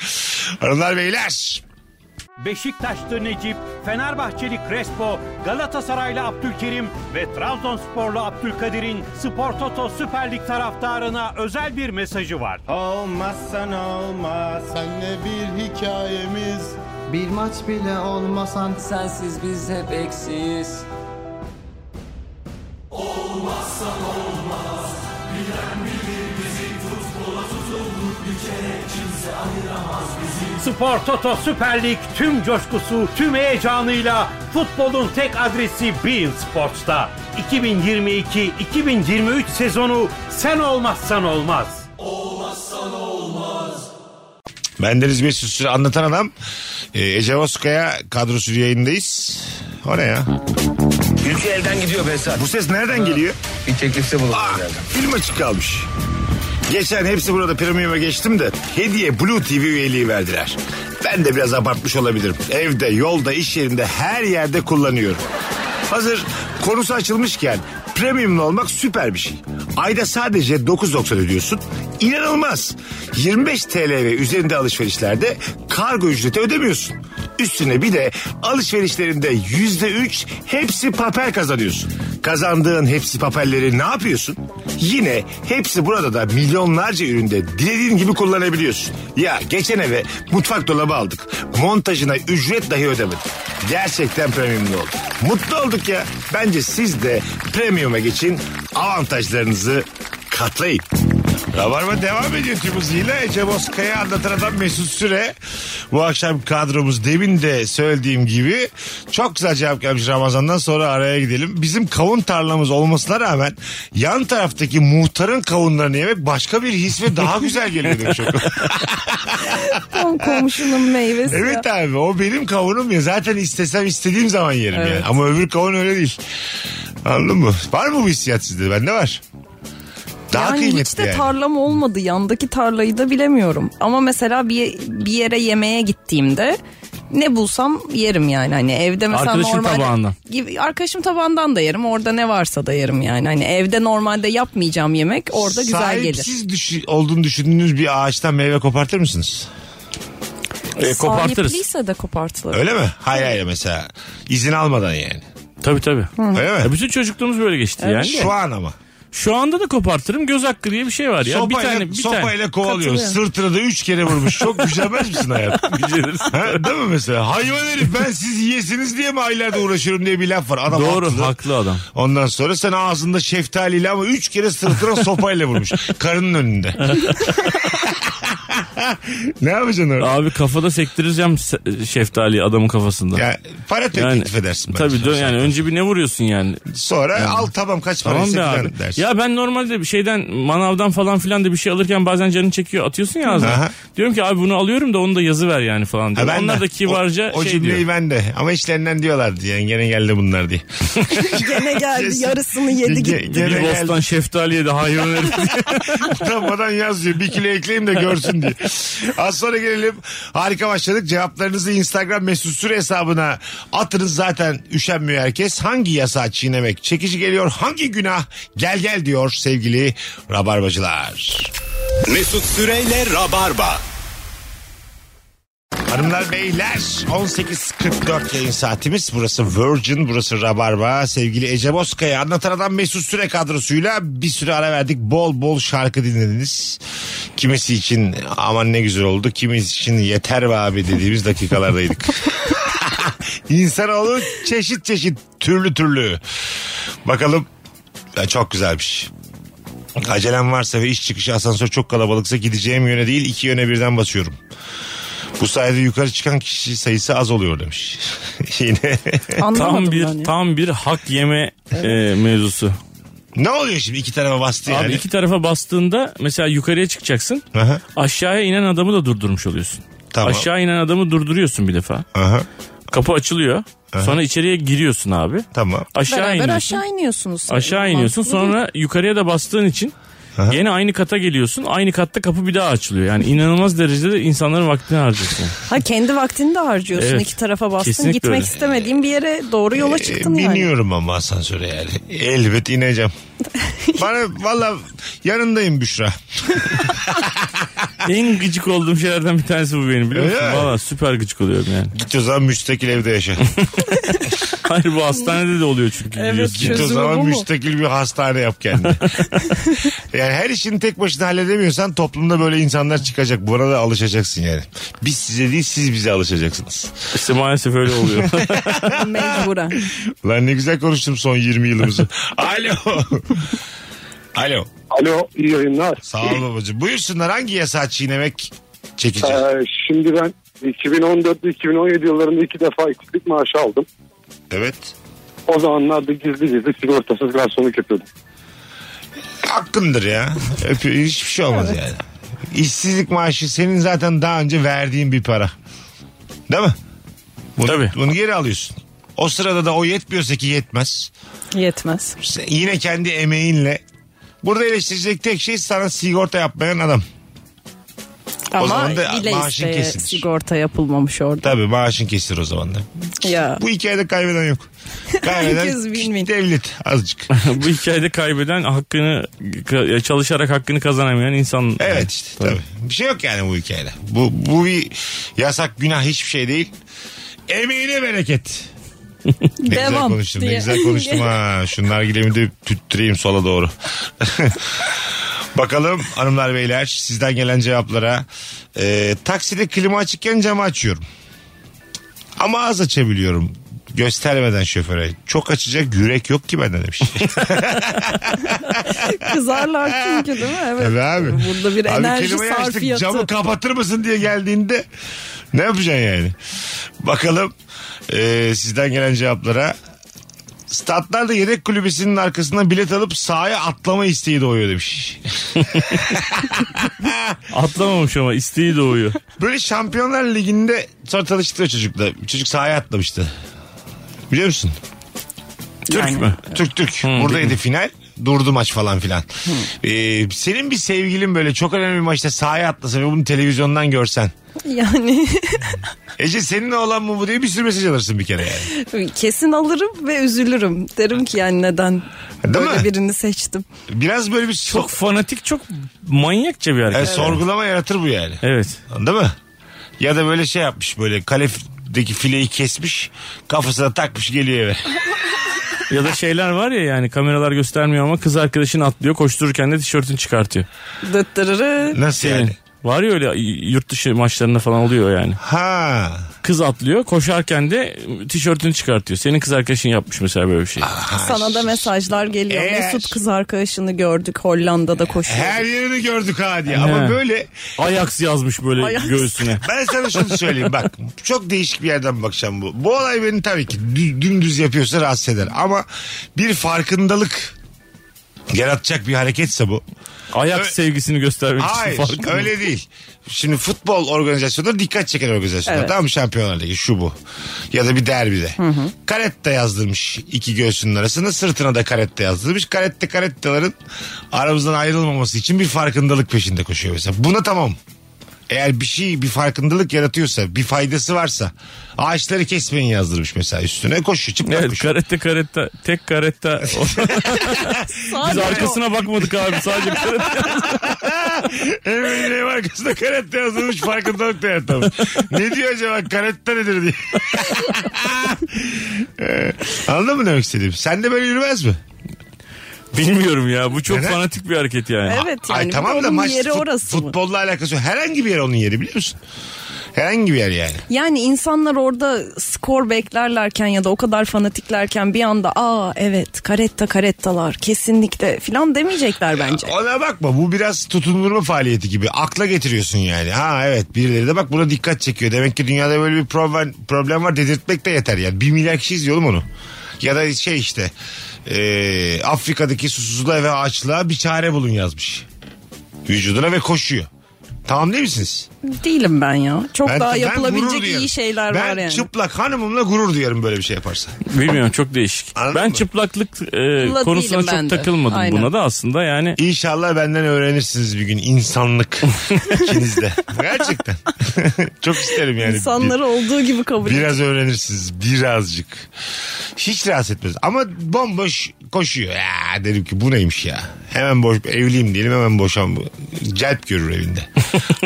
S4: Hanımlar beyler.
S8: Beşiktaşlı Necip, Fenerbahçeli Crespo, Galatasaraylı Abdülkerim ve Trabzonsporlu Abdülkadir'in Spor Toto Süper Lig taraftarına özel bir mesajı var.
S9: Olmazsan olmaz Senle bir hikayemiz
S10: Bir maç bile olmasan
S11: Sensiz biz hep eksiyiz.
S8: Spor Toto Süper Lig tüm coşkusu, tüm heyecanıyla futbolun tek adresi Bein Sports'ta. 2022-2023 sezonu sen olmazsan olmaz.
S4: Bendeniz Mesut Süre anlatan adam. Ee, Ece Bozkaya kadrosu yayındayız. O ne ya?
S12: Ülke elden gidiyor Besat.
S4: Bu ses nereden geliyor?
S12: Bir teklifte bulundum
S3: Ah,
S4: Aa, film açık kalmış. Geçen hepsi burada premium'a geçtim de hediye Blue TV üyeliği verdiler. Ben de biraz abartmış olabilirim. Evde, yolda, iş yerinde her yerde kullanıyorum. Hazır konusu açılmışken premiumlu olmak süper bir şey. Ayda sadece 9.90 ödüyorsun. İnanılmaz. 25 TL ve üzerinde alışverişlerde kargo ücreti ödemiyorsun. Üstüne bir de alışverişlerinde %3 hepsi papel kazanıyorsun. Kazandığın hepsi papelleri ne yapıyorsun? Yine hepsi burada da milyonlarca üründe dilediğin gibi kullanabiliyorsun. Ya geçen eve mutfak dolabı aldık. Montajına ücret dahi ödemedik. Gerçekten premiumlu olduk. Mutlu olduk ya. Bence siz de premiuma geçin. Avantajlarınızı katlayın. Rabarba devam ediyor tüm hızıyla. Ece Bozkaya anlatan adam Mesut Süre. Bu akşam kadromuz demin de söylediğim gibi çok güzel cevap gelmiş Ramazan'dan sonra araya gidelim. Bizim kavun tarlamız olmasına rağmen yan taraftaki muhtarın kavunlarını yemek başka bir his ve daha güzel geliyor demiş
S6: *laughs*
S4: o.
S6: Tam komşunun meyvesi.
S4: Evet abi o benim kavunum ya. Zaten istesem istediğim zaman yerim yani. Ama öbür kavun öyle değil. Anladın mı? Var mı bu hissiyat sizde? Bende var. Daha
S6: yani
S4: kıymetli
S6: hiç de
S4: yani.
S6: tarlam olmadı. Yandaki tarlayı da bilemiyorum. Ama mesela bir, bir yere yemeğe gittiğimde ne bulsam yerim yani. Hani evde mesela
S5: Arkadaşın
S6: normalde...
S5: tabağından.
S6: Gibi, arkadaşım tabağından da yerim. Orada ne varsa da yerim yani. Hani evde normalde yapmayacağım yemek orada güzel gelir.
S4: Sahipsiz düşü- olduğunu düşündüğünüz bir ağaçtan meyve kopartır mısınız?
S5: E, kopartırız.
S6: Sahipliyse de kopartılır.
S4: Öyle mi? Hayır hayır mesela. izin almadan yani.
S5: Tabii tabii.
S4: Öyle mi?
S5: Ya bütün çocukluğumuz böyle geçti yani.
S4: Şu an ama.
S5: Şu anda da kopartırım göz hakkı diye bir şey var ya.
S4: sopayla,
S5: bir tane bir
S4: sopayla
S5: tane.
S4: kovalıyor. *laughs* Sırtını da üç kere vurmuş. Çok gücenmez misin
S5: *laughs*
S4: hayatım? Ha, değil mi mesela? Hayvan herif ben siz yiyesiniz diye mi aylarda uğraşıyorum diye bir laf var. Adam
S5: Doğru
S4: haklı.
S5: haklı adam.
S4: Ondan sonra sen ağzında şeftaliyle ama üç kere sırtına sopayla vurmuş. Karının önünde.
S5: *laughs*
S4: ne yapacaksın orada?
S5: Abi kafada sektireceğim se- şeftaliyi adamın kafasında.
S4: Ya, para te-
S5: Yani-
S4: teklif edersin. bence.
S5: Tabii dö- yani önce bir ne vuruyorsun yani?
S4: Sonra al tamam kaç para
S5: Tamam be
S4: tamam
S5: abi.
S4: dersin.
S5: Ya ben normalde bir şeyden manavdan falan filan da bir şey alırken bazen canın çekiyor atıyorsun ya ağzına.
S4: Aha.
S5: Diyorum ki abi bunu alıyorum da onu da yazı ver yani falan
S4: Ha,
S5: diyor.
S4: ben
S5: Onlar
S4: de.
S5: da kibarca
S4: o, o
S5: şey
S4: cümleyi
S5: diyor.
S4: ben de ama işlerinden diyorlardı yani gene geldi bunlar diye.
S6: Gene geldi yarısını yedi
S4: Ge-
S6: gitti.
S4: gene
S5: Bir
S4: geldi. *laughs*
S5: bostan şeftaliye de hayvan herif.
S4: Utanmadan yaz diyor. Bir kilo ekleyeyim de görsün diye. Az sonra gelelim. Harika başladık. Cevaplarınızı Instagram mesut süre hesabına atınız. Zaten üşenmiyor herkes. Hangi yasağı çiğnemek çekici geliyor? Hangi günah gel gel diyor sevgili rabarbacılar.
S3: Mesut Süreyle Rabarba.
S4: Hanımlar beyler 18.44 yayın saatimiz. Burası Virgin, burası Rabarba. Sevgili Ece Bozkaya anlatan adam Mesut Süre kadrosuyla bir süre ara verdik. Bol bol şarkı dinlediniz. Kimisi için aman ne güzel oldu. Kimisi için yeter be abi dediğimiz dakikalardaydık. *laughs* İnsanoğlu çeşit çeşit türlü türlü. Bakalım ya çok güzelmiş. Acelem varsa ve iş çıkışı asansör çok kalabalıksa gideceğim yöne değil iki yöne birden basıyorum. Bu sayede yukarı çıkan kişi sayısı az oluyor demiş. *laughs* Yine.
S6: Anlamadım
S5: *laughs* tam bir
S6: ben ya.
S5: tam bir hak yeme e, mevzusu.
S4: ne oluyor şimdi iki tarafa bastı yani?
S5: Abi iki tarafa bastığında mesela yukarıya çıkacaksın.
S4: Aha,
S5: Aşağıya inen adamı da durdurmuş oluyorsun.
S4: tamam.
S5: Aşağı inen adamı durduruyorsun bir defa.
S4: Aha,
S5: Kapı açılıyor. Sonra içeriye giriyorsun abi.
S4: tamam.
S5: Aşağı
S6: Beraber
S5: iniyorsun.
S6: aşağı iniyorsunuz.
S5: Aşağı iniyorsun sonra yukarıya da bastığın için yine aynı kata geliyorsun. Aynı katta kapı bir daha açılıyor. Yani inanılmaz derecede insanların
S4: *laughs*
S5: vaktini harcıyorsun.
S6: Ha kendi vaktini de harcıyorsun
S5: Evet.
S6: iki tarafa bastın.
S5: Kesinlikle
S6: Gitmek
S5: öyle.
S6: istemediğin bir yere doğru yola
S4: Ee,
S6: çıktın yani.
S4: Biniyorum ama asansöre yani. Elbet
S6: *laughs*
S4: ineceğim. Bana valla yanındayım Büşra.
S5: en gıcık olduğum şeylerden bir tanesi bu benim biliyor musun?
S4: Öyle mi?
S5: Valla süper gıcık oluyorum yani.
S4: Git o zaman müstakil evde
S6: *laughs*
S4: yaşa.
S5: Hayır bu hastanede de oluyor çünkü
S6: Evet,
S5: biliyorsun.
S4: Git o
S6: Çözümü bu
S4: zaman
S6: mu?
S4: müstakil bir hastane yap
S6: *laughs*
S4: kendine. yani her işini tek başına halledemiyorsan toplumda böyle insanlar çıkacak. Buna da alışacaksın yani. Biz size değil siz bize alışacaksınız.
S5: İşte maalesef
S4: *laughs*
S5: öyle oluyor. *laughs*
S6: Mecburen.
S4: Lan ne güzel konuştum son 20 yılımızı. Alo. *laughs* Alo.
S13: Alo iyi yayınlar.
S4: Sağ ol babacığım. Buyursunlar hangi yasağı çiğnemek çekici?
S13: Ee, şimdi ben 2014-2017 yıllarında iki defa eksiklik maaşı aldım.
S4: evet.
S13: O zamanlarda gizli gizli sigortasız garsonluk yapıyordum.
S4: Hakkındır ya. Öpüyor. Hiçbir şey olmaz yani. İşsizlik maaşı senin zaten daha önce verdiğin bir para. Değil mi? Bunu,
S5: Tabii.
S4: Bunu geri alıyorsun. O sırada da o yetmiyorsa ki yetmez.
S6: Yetmez.
S4: Sen yine kendi emeğinle. Burada eleştirecek tek şey sana sigorta yapmayan adam.
S6: Ama
S4: zaman da
S6: bile
S4: maaşın
S6: isteye
S4: kesilir.
S6: sigorta yapılmamış orada.
S4: *laughs* Tabii maaşın kesilir o zaman da.
S6: Ya.
S4: Bu hikayede kaybeden
S6: *laughs*
S4: yok.
S6: Herkes
S4: Kaybeden
S6: win-win.
S4: devlet azıcık.
S5: bu hikayede kaybeden hakkını ka- çalışarak hakkını kazanamayan insan.
S4: Evet işte tabii. Bir şey yok yani bu hikayede. Bu, bu bir yasak günah hiçbir şey değil. Emeğine
S6: *laughs*
S4: bereket. Ne güzel
S6: Devam
S4: konuştum ne
S6: diye.
S4: güzel konuştum
S6: *laughs*
S4: ha. Şunlar gidemi de tüttüreyim sola doğru. *laughs* Bakalım hanımlar beyler sizden gelen cevaplara. Ee, takside klima açıkken camı açıyorum. Ama az açabiliyorum. Göstermeden şoföre. Çok açacak yürek yok ki benden demiş. *laughs*
S6: Kızarlar çünkü
S4: *laughs*
S6: değil mi? Evet.
S4: Tabii abi.
S6: Burada bir
S4: Abi
S6: enerji
S4: kelimeyi açtık,
S6: sarfiyatı.
S4: Camı kapatır mısın diye geldiğinde ne yapacaksın yani? Bakalım e, sizden gelen cevaplara. Statlarda yedek kulübesinin arkasından bilet alıp sahaya atlama isteği doğuyor demiş.
S5: Atlamamış ama isteği doğuyor.
S4: Böyle Şampiyonlar Ligi'nde sonra tanıştık o çocukla. Çocuk sahaya atlamıştı. Biliyor musun? Türk mü? Türk Türk.
S6: Hmm,
S4: Buradaydı final. Durdu maç falan filan. Ee, senin bir sevgilin böyle çok önemli bir maçta sahaya atlasa ve bunu televizyondan görsen.
S6: Yani *laughs*
S4: Ece seninle olan mı bu diye bir sürü mesaj alırsın bir kere yani.
S6: kesin alırım ve üzülürüm. Derim ki yani neden böyle
S4: mi?
S6: birini seçtim.
S4: Biraz böyle bir...
S5: Çok fanatik çok manyakça bir hareket.
S4: Yani Sorgulama yaratır bu yani.
S5: Evet.
S4: Anladın mı? Ya da böyle şey yapmış böyle kalefdeki fileyi kesmiş kafasına takmış geliyor
S5: *laughs*
S4: eve.
S5: Ya da şeyler var ya yani kameralar göstermiyor ama kız arkadaşın atlıyor koştururken de tişörtünü çıkartıyor.
S6: Dıt dırırı.
S4: Nasıl yani?
S5: Var ya öyle yurt dışı maçlarında falan oluyor yani.
S4: Ha.
S5: Kız atlıyor koşarken de tişörtünü çıkartıyor. Senin kız arkadaşın yapmış mesela böyle bir şey.
S4: Ah.
S6: Sana da mesajlar geliyor. Mesut kız arkadaşını gördük Hollanda'da koşuyor.
S4: Her yerini gördük ha diye ama
S5: He.
S4: böyle
S5: Ajax yazmış böyle
S6: Ajax.
S5: göğsüne.
S4: Ben sana şunu söyleyeyim bak. Çok değişik bir yerden bakacağım bu. Bu olay beni tabii ki dü- dümdüz yapıyorsa rahatsız eder. Ama bir farkındalık yaratacak bir hareketse bu.
S5: Ajax sevgisini göstermek
S4: Hayır
S5: için farkında.
S4: öyle değil. Şimdi futbol organizasyonları dikkat çeken organizasyonlar.
S5: Evet.
S4: Tamam mı? Şampiyonlar Ligi şu bu. Ya da bir derbide. Karette yazdırmış iki göğsünün arasında sırtına da karette yazdırmış. Karette karettelerin aramızdan ayrılmaması için bir farkındalık peşinde koşuyor mesela. Buna tamam. Eğer bir şey bir farkındalık yaratıyorsa bir faydası varsa ağaçları kesmeyin yazdırmış mesela üstüne koşuyor çıplak
S5: Evet,
S4: koşuyor.
S5: karette karette
S4: *laughs*
S5: tek karette. Biz arkasına bakmadık abi sadece karette.
S4: Emine'nin arkasında karette yazılmış farkındalık da yaratmış. ne diyor acaba karette nedir diye. *laughs* Ee, Anladın mı demek istediğim? Sen de böyle yürümez mi?
S5: Bilmiyorum ya bu çok
S4: Neden?
S5: fanatik bir hareket yani.
S6: Evet
S4: Ay
S6: yani
S4: tamam da
S6: onun
S4: maç
S6: yeri
S4: fut-
S6: orası mı?
S4: futbolla alakası yok. Herhangi bir yer onun yeri biliyor musun? Herhangi bir yer yani.
S6: Yani insanlar orada skor beklerlerken ya da o kadar fanatiklerken bir anda aa evet karetta karettalar kesinlikle filan demeyecekler
S4: *laughs*
S6: bence.
S4: Ona bakma bu biraz tutundurma faaliyeti gibi. Akla getiriyorsun yani. Ha evet birileri de bak buna dikkat çekiyor. Demek ki dünyada böyle bir problem, problem var dedirtmek de yeter yani. Bir milyar kişi izliyor oğlum onu. Ya da şey işte eee, Afrika'daki susuzluğa ve açlığa bir çare bulun yazmış. Vücuduna ve koşuyor. Tamam değil misiniz?
S6: Değilim ben ya. Çok
S4: Ben-
S6: daha
S4: ben
S6: yapılabilecek
S4: gurur duyarım.
S6: iyi şeyler
S4: ben
S6: var yani.
S4: çıplak hanımımla gurur duyarım böyle bir şey yaparsa.
S5: Bilmiyorum çok değişik.
S4: Anladın
S5: ben
S4: mı?
S5: çıplaklık e,
S6: Kula
S5: konusuna
S6: değilim
S5: çok
S6: ben de.
S5: takılmadım
S6: Aynen.
S5: buna da aslında yani.
S4: İnşallah benden öğrenirsiniz bir gün insanlık ikiniz de. Gerçekten. *laughs* Çok isterim yani.
S6: İnsanları olduğu gibi kabul et.
S4: Biraz öğrenirsiniz birazcık. Hiç rahatsız etmez ama bomboş koşuyor. Ya derim ki bu neymiş ya. Hemen boş evliyim diyelim hemen boşan bu. Celp görür evinde.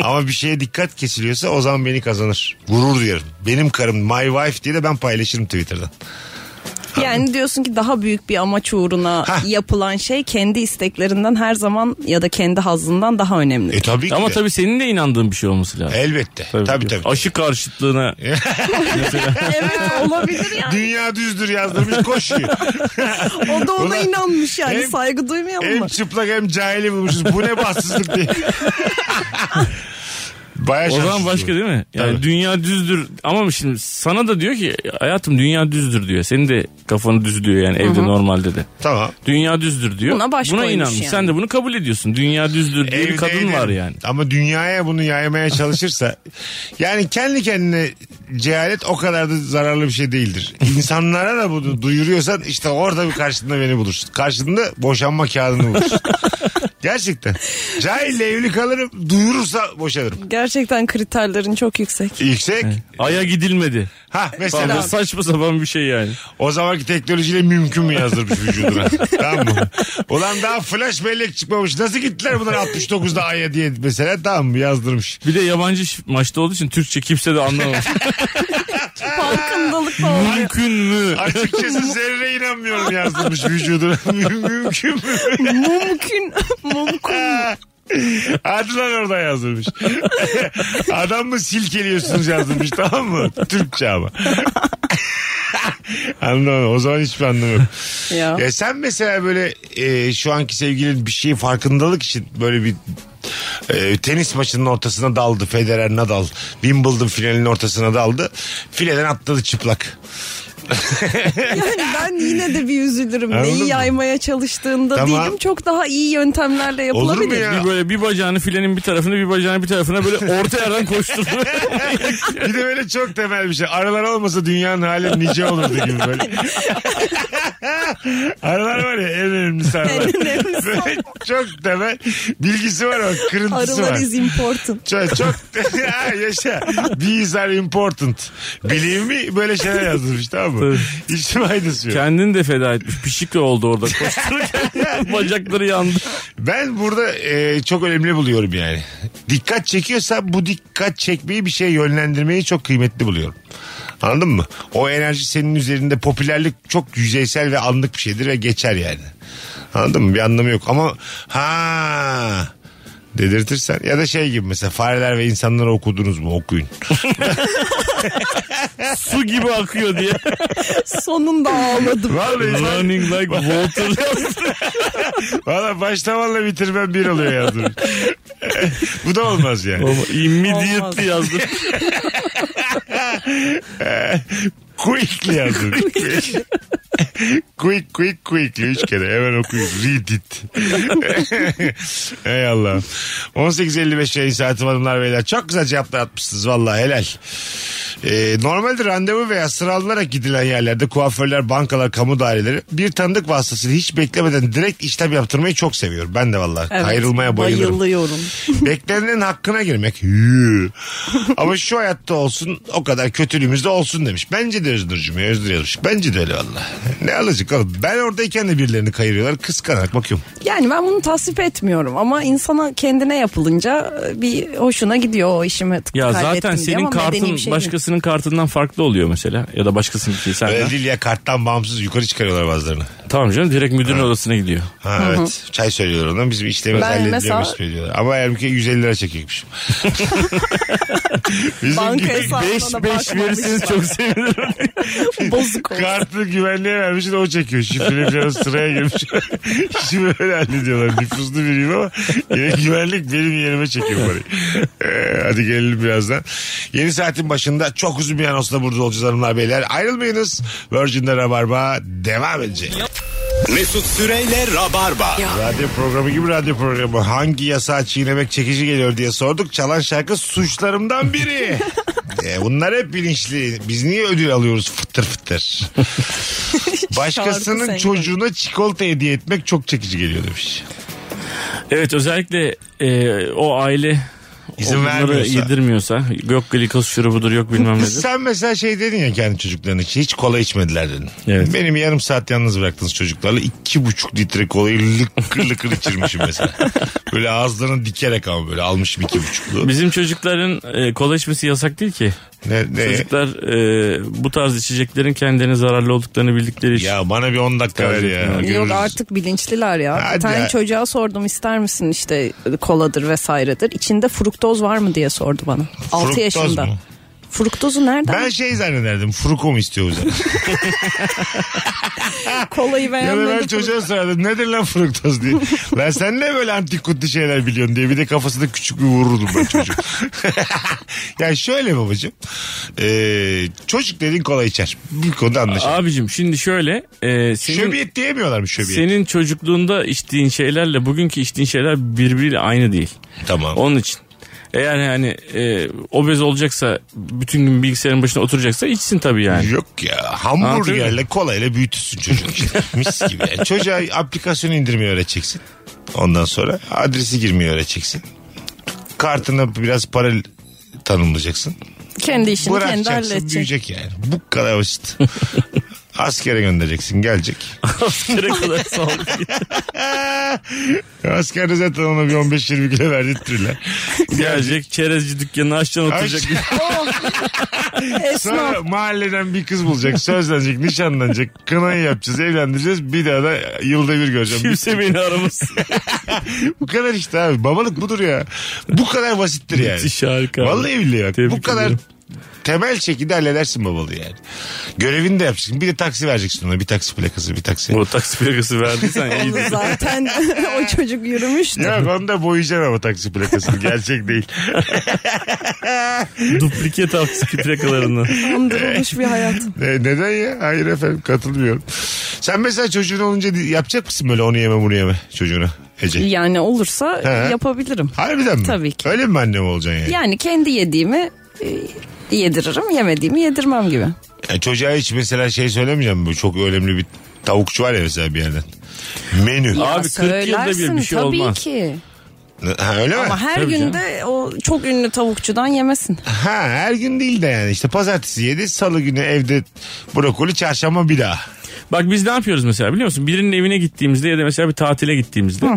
S4: ama bir şeye dikkat kesiliyorsa o zaman beni kazanır. Gurur duyarım. Benim karım my wife diye de ben paylaşırım Twitter'dan.
S6: Yani diyorsun ki daha büyük bir amaç uğruna yapılan şey kendi isteklerinden her zaman ya da kendi hazzından daha önemli.
S4: E tabii ki
S5: Ama
S4: de.
S5: tabii senin de inandığın bir şey olması lazım.
S4: Elbette. Tabii tabii. tabii. *laughs*
S5: Aşı karşıtlığına
S6: evet olabilir yani.
S4: Dünya düzdür yazdırmış koşuyor.
S6: O da ona
S4: Ulan
S6: inanmış yani
S4: hem-
S6: saygı duymuyor
S4: Hem
S6: mu?
S4: çıplak hem cahili bulmuşuz. Bu ne bahtsızlık diye. Bayağı
S5: o zaman
S4: şanssız
S5: başka
S4: bu.
S5: değil mi? Yani
S4: Tabii.
S5: dünya düzdür ama şimdi sana da diyor ki hayatım dünya düzdür diyor. Senin de kafanı düz diyor yani evde normalde de.
S4: Tamam.
S5: Dünya düzdür diyor.
S6: Buna baş koymuş
S5: inanmış.
S6: şey yani.
S5: Sen de bunu kabul ediyorsun. Dünya düzdür diye bir
S4: Evde
S5: kadın
S4: ederim.
S5: var yani.
S4: Ama dünyaya bunu yaymaya çalışırsa *laughs* yani kendi kendine cehalet o kadar da zararlı bir şey değildir. İnsanlara da bunu duyuruyorsan işte orada bir karşında beni bulursun. Karşında boşanma kağıdını bulursun. Gerçekten. Cahille evli kalırım duyurursa boşanırım.
S6: Gerçekten kriterlerin çok yüksek.
S4: Yüksek.
S5: Aya gidilmedi.
S4: Ha
S5: Falan
S4: mesela.
S5: böyle saçma sapan bir şey yani.
S4: O zamanki teknolojiyle mümkün mü yazdırmış vücuduna? tamam mı? Ulan daha flash bellek çıkmamış. Nasıl gittiler bunlar 69'da Ay'a diye mesela tamam mı yazdırmış.
S5: Bir de yabancı şif- maçta olduğu için Türkçe kimse
S4: *laughs*
S5: de anlamamış.
S6: Farkındalık falan.
S5: Mümkün mü?
S4: Açıkçası zerre inanmıyorum yazdırmış vücuduna. *laughs* Mü- mümkün mü?
S6: Mümkün. *laughs* Mümkün.
S4: *laughs* Hadi lan orada *laughs* yazdırmış. Adam mı silkeliyorsunuz yazdırmış tamam mı? Türkçe ama. *laughs* Anlamadım. O zaman hiçbir anlamı yok.
S6: Ya.
S4: Ya sen mesela böyle e, şu anki sevgilin bir şeyin farkındalık için böyle bir e, tenis maçının ortasına daldı Federer Nadal. Wimbledon finalinin ortasına daldı. Fileden atladı çıplak.
S6: Yani ben yine de bir üzülürüm.
S4: Anladın
S6: Neyi
S4: mı?
S6: yaymaya çalıştığında
S4: Tamam.
S6: değilim. Çok daha iyi yöntemlerle yapılabilir.
S5: Bir böyle bir bacağını filenin bir tarafına bir bacağını bir tarafına böyle orta yerden koşturdu.
S4: *laughs* bir de böyle çok temel bir şey. Aralar olmasa dünyanın hali nice olurdu gibi böyle. Aralar var ya en önemlisi aralar. Böyle çok temel bilgisi var ama kırıntısı var.
S6: Arılar is important.
S4: Çok, *laughs* çok Ha, yaşa. These are important. Bileyim mi? Böyle şeyler yazmış tamam mı? Hiç faydası yok.
S5: Kendini de feda etmiş. Pişik oldu orada koştururken. Bacakları yandı.
S4: Ben burada e, çok önemli buluyorum yani. Dikkat çekiyorsa bu dikkat çekmeyi bir şeye yönlendirmeyi çok kıymetli buluyorum. Anladın mı? O enerji senin üzerinde popülerlik çok yüzeysel ve anlık bir şeydir ve geçer yani. Anladın mı? Bir anlamı yok ama ha dedirtirsen ya da şey gibi mesela fareler ve insanları okudunuz mu okuyun.
S5: Su gibi akıyor diye.
S6: Sonunda ağladım.
S4: Vallahi
S5: Running like water.
S4: Valla başlamanla bitirmem bir oluyor yazdım. *laughs* Bu da olmaz yani.
S5: Immediately yazdım.
S4: Quickly yazdım. quick quick quickly üç kere hemen okuyun. Read it. Ey Allah. 18.55 yayın saati hanımlar beyler. Çok güzel cevaplar atmışsınız vallahi helal. Ee, normalde randevu veya sıralanarak gidilen yerlerde kuaförler, bankalar, kamu daireleri bir tanıdık vasıtasıyla hiç beklemeden direkt işlem yaptırmayı çok seviyorum. Ben de vallahi
S6: Evet,
S4: ayrılmaya bayılırım.
S6: Bayılıyorum.
S4: *laughs* Beklenenin hakkına girmek. Yü. Ama şu hayatta olsun o kadar kötülüğümüz de olsun demiş. Bence de Özdür'cüm ya Özgür yazmış. Bence de öyle valla. Ne alacak oğlum. Ben oradayken de birilerini kayırıyorlar. Kıskanarak bakıyorum.
S6: Yani ben bunu tasvip etmiyorum ama insana kendine yapılınca e, bir hoşuna gidiyor o işimi tık-
S5: Ya
S6: kaybettim
S5: zaten
S6: diye
S5: senin
S6: ama medeni
S5: kartın
S6: bir şey değil.
S5: başkasının kartından farklı oluyor mesela. Ya da başkasının ki
S4: Öyle
S5: senden.
S4: değil ya karttan bağımsız yukarı çıkarıyorlar bazılarını.
S5: Tamam canım direkt müdürün odasına gidiyor.
S4: Ha evet. Çay söylüyorlar ondan. Bizim işlemi
S6: Ben
S4: hallediliyormuş
S6: mesela-
S4: söylüyorlar. Ama eğer ki 150 lira çekecekmişim. Bizim
S6: Banka
S4: gü-
S6: hesabına
S5: beş-
S6: da
S5: beş
S6: bakmamışlar.
S5: verirseniz
S6: *laughs*
S5: çok sevinirim.
S6: Bozuk olsun.
S4: Kartı güvenliğe vermiş de o çekiyor. Şifreli falan sıraya girmiş. *laughs* İşimi öyle hallediyorlar. Nüfuslu biriyim ama yine güvenlik benim yerime çekiyor parayı. Ee, hadi gelelim birazdan. Yeni saatin başında çok uzun bir anonsla burada olacağız hanımlar beyler. Ayrılmayınız. Virgin'de Rabarba devam edecek.
S3: Mesut Süreyle Rabarba.
S4: Radyo programı gibi radyo programı. Hangi yasağı çiğnemek çekici geliyor diye sorduk. Çalan şarkı suçlarımdan
S5: *laughs*
S4: biri. Ee, bunlar hep bilinçli. Biz niye ödül alıyoruz fıttır
S5: *laughs*
S4: fıttır?
S6: Şarkı
S4: Başkasının
S6: sen-
S4: çocuğuna çikolata hediye etmek çok çekici geliyor demiş.
S5: Evet özellikle e, o aile
S4: İzin
S5: onları
S4: vermiyorsa.
S5: yedirmiyorsa yok glikoz şurubudur yok bilmem nedir.
S4: Sen mesela şey dedin ya kendi çocukların için hiç kola içmediler dedin.
S5: Evet.
S4: Benim yarım saat yalnız bıraktınız çocuklarla iki buçuk litre kolayı lıkır lıkır içirmişim
S5: *laughs*
S4: mesela. Böyle ağızlarını dikerek ama böyle almışım iki buçuklu.
S5: Bizim çocukların e, kola içmesi yasak değil ki.
S4: Ne, ne?
S5: Çocuklar e, bu tarz içeceklerin kendilerine zararlı olduklarını bildikleri için.
S4: Ya bana bir 10 dakika ver ya.
S5: Yok
S4: Görürüz.
S6: Yok artık bilinçliler ya.
S4: Hadi
S6: bir tane
S4: ya.
S6: çocuğa sordum ister misin işte koladır vesairedir. İçinde fruktoz var mı diye sordu bana. 6
S4: Fruktoz
S6: yaşında.
S4: mu?
S6: Fruktozu nereden?
S4: Ben şey zannederdim. Fruko mu istiyor bize?
S6: *laughs* kolayı
S4: ya da
S6: beğenmedim.
S4: ben çocuğa sorardım. Nedir lan fruktoz diye. lan sen ne böyle antikutlu şeyler biliyorsun diye. Bir de kafasında küçük bir vururdum ben çocuğu. *laughs* ya şöyle babacığım. Ee, çocuk dediğin kolay içer. Bir konuda anlaşılır.
S5: Abicim şimdi şöyle e, senin,
S4: Şöbiyet diyemiyorlar mı şöbiyet?
S5: senin çocukluğunda içtiğin şeylerle bugünkü içtiğin şeyler birbiriyle aynı değil.
S4: Tamam.
S5: Onun için. Eğer yani e, obez olacaksa bütün gün bilgisayarın başına oturacaksa içsin tabii *laughs* yani.
S4: Yok ya hamburgerle
S5: Anladın
S4: kolayla büyütürsün çocuğu işte. Mis gibi. yani. Çocuğa aplikasyonu indirmeyi öğreteceksin. Ondan sonra adresi girmeyi öğreteceksin. Kartına biraz para tanımlayacaksın.
S6: Kendi işini kendi
S4: Bırakacaksın
S6: halledecek.
S4: büyüyecek yani. Bu kadar basit. *laughs* Askere göndereceksin gelecek.
S5: Askere *laughs* kadar sağlık.
S4: Askerde zaten ona bir 15-20 kilo verdirtirler.
S5: Gelecek çerezci dükkanını açacaksın oturacak.
S4: Aç- Sonra mahalleden bir kız bulacak. Sözlenecek, nişanlanacak. Kınayı yapacağız, evlendireceğiz. Bir daha da yılda bir göreceğim.
S5: Kimse beni aramaz.
S4: Bu kadar işte abi. Babalık budur ya. Bu kadar basittir yani.
S5: Müthiş harika.
S4: Vallahi billahi bak.
S5: Tebrik
S4: bu kadar
S5: ediyorum.
S4: temel şekilde halledersin babalı yani. Görevini de yapacaksın. Bir de taksi vereceksin ona. Bir taksi plakası bir taksi.
S5: O taksi plakası verdiysen
S6: Onu
S4: *laughs*
S6: zaten *laughs* o çocuk yürümüştü.
S4: Yok onu da boyayacaksın ama taksi plakasını. Gerçek *laughs* değil.
S5: Duplike taksi plakalarını.
S6: Andırılmış bir hayat.
S4: E, neden ya? Hayır efendim katılmıyorum. Sen mesela çocuğun olunca di- yapacak mısın böyle onu yeme bunu yeme çocuğuna Ece?
S6: Yani olursa
S4: He.
S6: yapabilirim.
S4: Harbiden mi?
S6: Tabii ki.
S4: Öyle mi annem olacaksın yani?
S6: Yani kendi yediğimi e, yediririm, yemediğimi yedirmem gibi.
S4: E, çocuğa hiç mesela şey söylemeyeceğim mi? Bu Çok önemli bir tavukçu var ya mesela bir yerden. Menü.
S6: Ya
S5: Abi 40 yılda bir bir
S6: söylersin
S5: şey
S6: tabii
S5: olmaz.
S6: ki.
S4: Ha, öyle mi?
S6: Ama her
S4: Tabii canım.
S6: gün de o çok ünlü tavukçudan yemesin.
S4: Ha her gün değil de yani işte pazartesi yedi salı günü evde brokoli çarşamba bir daha.
S5: Bak biz ne yapıyoruz mesela biliyor musun? Birinin evine gittiğimizde ya da mesela bir tatile gittiğimizde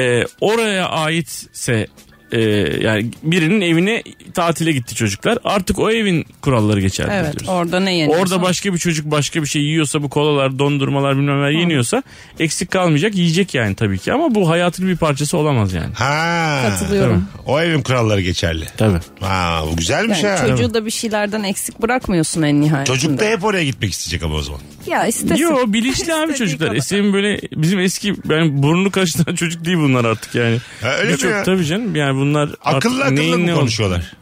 S5: e, oraya aitse e, yani birinin evine tatile gitti çocuklar. Artık o evin kuralları geçerli
S6: Evet,
S5: diyoruz.
S6: orada ne yenir?
S5: Orada başka bir çocuk başka bir şey yiyorsa bu kolalar, dondurmalar bilmem neler yeniyorsa eksik kalmayacak yiyecek yani tabii ki ama bu hayatın bir parçası olamaz yani.
S4: Ha.
S6: Katılıyorum.
S4: O evin kuralları geçerli.
S5: Tabii.
S4: Ha bu güzelmiş
S6: Yani
S4: ha.
S6: çocuğu da bir şeylerden eksik bırakmıyorsun en nihayetinde.
S4: Şey, Çocuk da hep oraya gitmek isteyecek ama o zaman.
S6: Ya istesin.
S5: Yo bilinçli abi çocuklar. Esin böyle bizim eski yani burnu kaşınan *laughs* çocuk değil bunlar artık yani.
S4: Ha, öyle mi
S5: Birçok-
S4: ya?
S5: Tabii canım yani bunlar
S4: Akıllı
S5: artık
S4: akıllı
S5: neyin ne
S4: mı
S5: olduğunu-
S4: konuşuyorlar?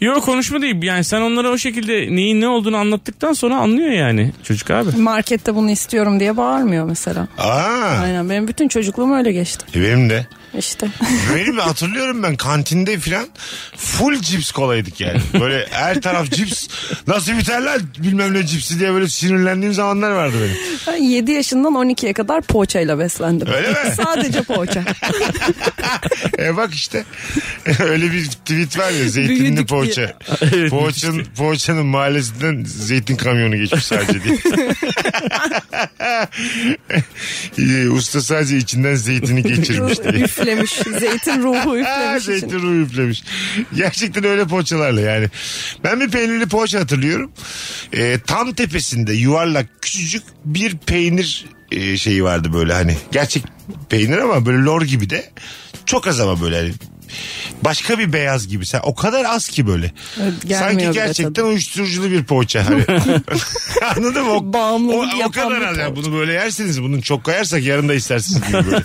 S5: Yo konuşma değil yani sen onlara o şekilde neyin ne olduğunu anlattıktan sonra anlıyor yani çocuk abi.
S6: Markette bunu istiyorum diye bağırmıyor mesela.
S4: Aa.
S6: Aynen benim bütün çocukluğum öyle geçti.
S4: E, benim de.
S6: İşte.
S4: Benim hatırlıyorum ben kantinde filan full cips kolaydık yani. Böyle her taraf cips. Nasıl biter lan bilmem ne cipsi diye böyle sinirlendiğim zamanlar vardı benim.
S6: Ben 7 yaşından 12'ye kadar poğaçayla beslendim.
S4: Öyle mi?
S6: *laughs* Sadece poğaça.
S4: E bak işte *laughs* öyle bir tweet var ya zeytinli
S6: Büyüdük
S4: poğaça.
S5: Evet,
S4: Poğaçın, poğaçanın mahallesinden zeytin kamyonu geçmiş sadece diye. *laughs* E, Usta sadece içinden zeytini geçirmiş diye.
S6: üflemiş. Zeytin ruhu
S4: Ha,
S6: üflemiş için.
S4: zeytin ruhu üflemiş. Gerçekten öyle poğaçalarla yani. Ben bir peynirli poğaça hatırlıyorum. E, tam tepesinde yuvarlak küçücük bir peynir e, şeyi vardı böyle hani. Gerçek peynir ama böyle lor gibi de. Çok az ama böyle hani. Başka bir beyaz gibi. Sen o kadar az ki böyle.
S6: Evet, gelmiyor
S4: Sanki
S6: bile
S4: gerçekten uyuşturuculu bir poğaça.
S6: *laughs*
S4: Hani. *laughs* Anladın mı? O,
S6: Bağımlılık
S4: o, o
S6: yapan
S4: kadar
S6: bir
S4: az. Yani
S6: poğaça.
S4: bunu böyle yerseniz bunun çok kayarsak yarın da istersiniz gibi
S6: *laughs*
S4: böyle.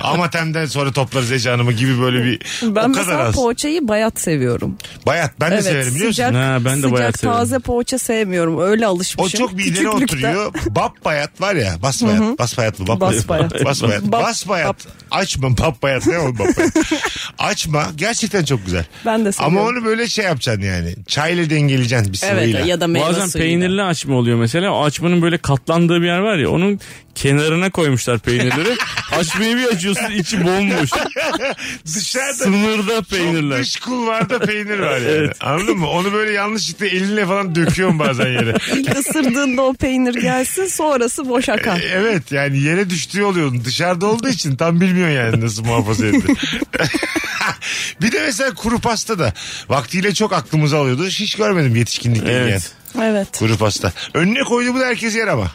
S4: Amatem'den sonra toplarız Ece Hanım'ı gibi böyle bir
S6: Ben
S4: o kadar
S6: mesela
S4: az.
S6: poğaçayı bayat seviyorum.
S4: Bayat ben de severim biliyor musun?
S6: sıcak,
S5: Ha, ben de
S6: sıcak
S5: bayat severim.
S6: taze poğaça sevmiyorum. Öyle alışmışım.
S4: O çok midene
S6: Küçüklükten.
S4: oturuyor. Bap bayat var ya. Bas bayat. Bas bayat mı? Bap
S6: Bas bayat.
S4: Bas bayat.
S6: Bap-
S4: Bas bayat. Açma bap bayat. Ne o bap
S6: *laughs*
S4: bayat? Açma. Gerçekten çok güzel.
S6: Ben de seviyorum.
S4: Ama onu böyle şey yapacaksın yani. Çayla dengeleyeceksin bir
S6: Evet
S4: sıvıyla.
S6: ya da meyve
S5: Bazen
S6: suyuyla.
S5: peynirli açma oluyor mesela. O açmanın böyle katlandığı bir yer var ya onun kenarına
S6: *laughs*
S5: koymuşlar peynirleri. Açmayı bir açıyorsun içi bomboş.
S4: Dışarıda
S5: Sınırda
S4: Çok
S5: peynirler.
S4: dış kulvarda peynir
S6: *laughs*
S4: var yani. Anladın mı? Onu böyle yanlışlıkla elinle falan döküyorsun bazen yere.
S6: *laughs* İlk ısırdığında o peynir gelsin sonrası boş akar.
S4: Evet yani yere düştüğü oluyor. Dışarıda olduğu için tam bilmiyorsun yani nasıl muhafaza
S5: *laughs*
S4: etti. bir de mesela kuru pasta da vaktiyle çok aklımızı alıyordu. Hiç görmedim yetişkinlikte
S5: Evet.
S4: yiyen
S6: Evet.
S4: kuru pasta. Önüne koyduğumu da herkes yer ama.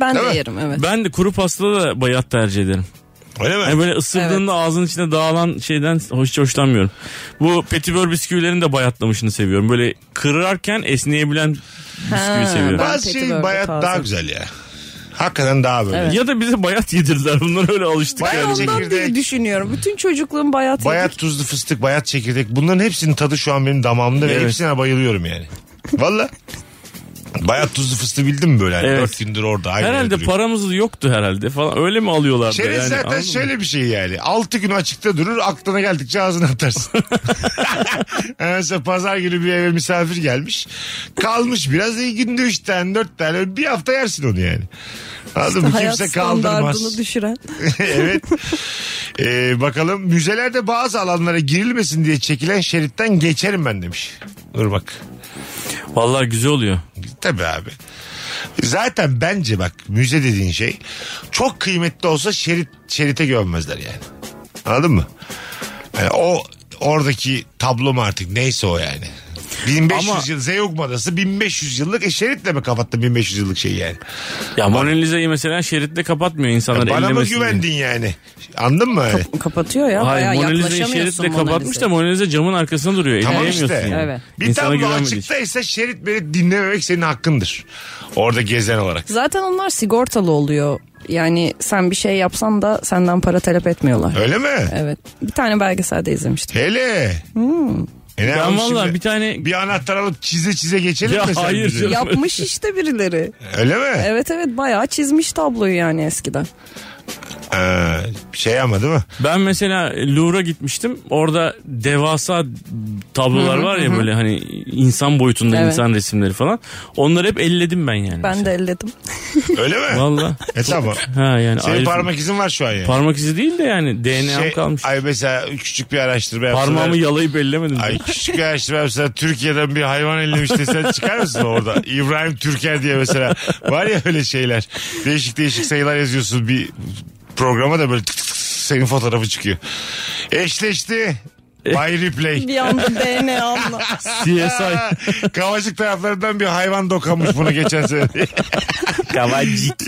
S6: Ben de
S4: Değil mi?
S6: yerim evet.
S5: Ben de kuru pastada da bayat tercih ederim.
S4: Öyle mi?
S5: Yani böyle ısırdığında ağzın içine dağılan şeyden hoş hoşlanmıyorum. Bu petibör bisküvilerin de bayatlamışını seviyorum. Böyle kırarken esneyebilen bisküvi
S6: Ha,
S5: seviyorum.
S6: ben
S4: Bazı şey
S6: petibörde
S4: bayat
S6: taze.
S4: daha güzel ya. Hakikaten daha böyle.
S5: Ya da bize bayat yedirdiler. Bunlar öyle alıştık
S4: Bayat
S5: yani.
S4: çekirdek.
S6: Ondan diye düşünüyorum. Bütün çocukluğum bayat,
S4: Bayat tuzlu fıstık, bayat çekirdek. Bunların hepsinin tadı şu an benim damağımda ve
S5: Evet.
S4: hepsine bayılıyorum yani. Valla. Bayat tuzlu fıstığı bildin mi böyle? Hani
S5: Evet.
S4: Dört gündür orada. aynı yerde
S5: Herhalde
S4: duruyor.
S5: paramız yoktu herhalde falan. Öyle mi alıyorlardı?
S4: Çerez
S5: yani,
S4: zaten
S5: anladın mı?
S4: şöyle bir şey yani. 6 gün açıkta durur aklına geldikçe ağzına atarsın.
S5: *laughs*
S4: Yani Mesela pazar günü bir eve misafir gelmiş. Kalmış biraz iyi günde 3 tane 4 tane Öyle bir hafta yersin onu yani. Anladın mı?
S6: yedik. Hayat
S4: Kimse kaldırmaz.
S6: standartını düşüren. *laughs*
S4: evet. Ee, bakalım müzelerde bazı alanlara girilmesin diye çekilen şeritten geçerim ben demiş. Dur bak.
S5: Vallahi güzel oluyor.
S4: Tabii abi. Zaten bence bak müze dediğin şey çok kıymetli olsa şerit şerite gömmezler yani. E, Anladın mı? Yani o oradaki tablo mu artık neyse o yani. 1500 yıl Zeugma Adası 1500 yıllık e, şeritle mi kapattın 1500 yıllık şeyi yani?
S5: Ya Mona Lisa'yı mesela şeritle kapatmıyor insanlar.
S4: Bana mı
S5: ellemesin diye.
S4: güvendin yani? Anladın mı? öyle?
S6: Kapatıyor ya.
S5: Hayır
S6: bayağı
S5: Mona Lisa'yı
S6: yaklaşamıyorsun
S5: şeritle
S6: Mona
S5: kapatmış
S6: Lisa'ya.
S5: da Mona Lisa camın arkasında duruyor.
S4: Tamam
S5: Eleyemiyorsun
S4: işte.
S5: yani.
S6: Evet.
S4: Bir
S5: İnsana
S4: tablo
S5: güvenmediği için.
S4: açıktaysa şerit beni dinlememek senin hakkındır. Orada gezen olarak.
S6: Zaten onlar sigortalı oluyor. Yani sen bir şey yapsan da senden para talep etmiyorlar.
S4: Öyle mi?
S6: Evet. Bir tane
S4: *laughs*
S6: belgeselde izlemiştim.
S4: Hele.
S6: Hmm.
S4: E ne
S5: Ben
S4: yapalım
S5: vallahi
S4: şimdi?
S5: bir tane-
S4: bir anahtar alıp çize çize geçelim
S5: Ya
S4: mi sen
S5: hayır
S4: bizi?
S5: canım.
S6: Yapmış işte birileri.
S4: Öyle mi?
S6: Evet evet bayağı çizmiş tabloyu yani eskiden.
S4: Ee, şey ama değil mi?
S5: Ben mesela Louvre'a gitmiştim. Orada devasa tablolar
S6: Hı hı,
S5: var ya
S6: hı hı.
S5: böyle hani insan boyutunda
S6: Evet.
S5: insan resimleri falan. Onları hep elledim ben yani.
S6: Ben de elledim.
S4: Öyle mi?
S5: Valla.
S4: E tamam.
S5: Ha yani
S4: Senin
S5: ayrı-
S4: parmak izin var şu an yani.
S5: parmak izi değil de yani DNA'm
S4: Şey,
S5: kalmış.
S4: Ay mesela küçük bir araştırma yapsalar.
S5: Parmağımı yalayıp ellemedim.
S4: Ay
S5: *laughs* Ay.
S4: küçük bir araştırma yapsalar Türkiye'den bir hayvan ellemiş desen çıkar mısın orada? İbrahim Türker diye mesela. Var ya öyle şeyler. Değişik değişik sayılar yazıyorsun bir programa da böyle tık tık tık senin fotoğrafı çıkıyor. Eşleşti.
S5: E-
S4: Bay Replay.
S6: Bir
S4: *laughs*
S6: anda DNA'mla.
S5: CSI.
S4: Kavacık taraflarından bir hayvan dokanmış bunu geçen sene. *laughs*
S5: Kavacık.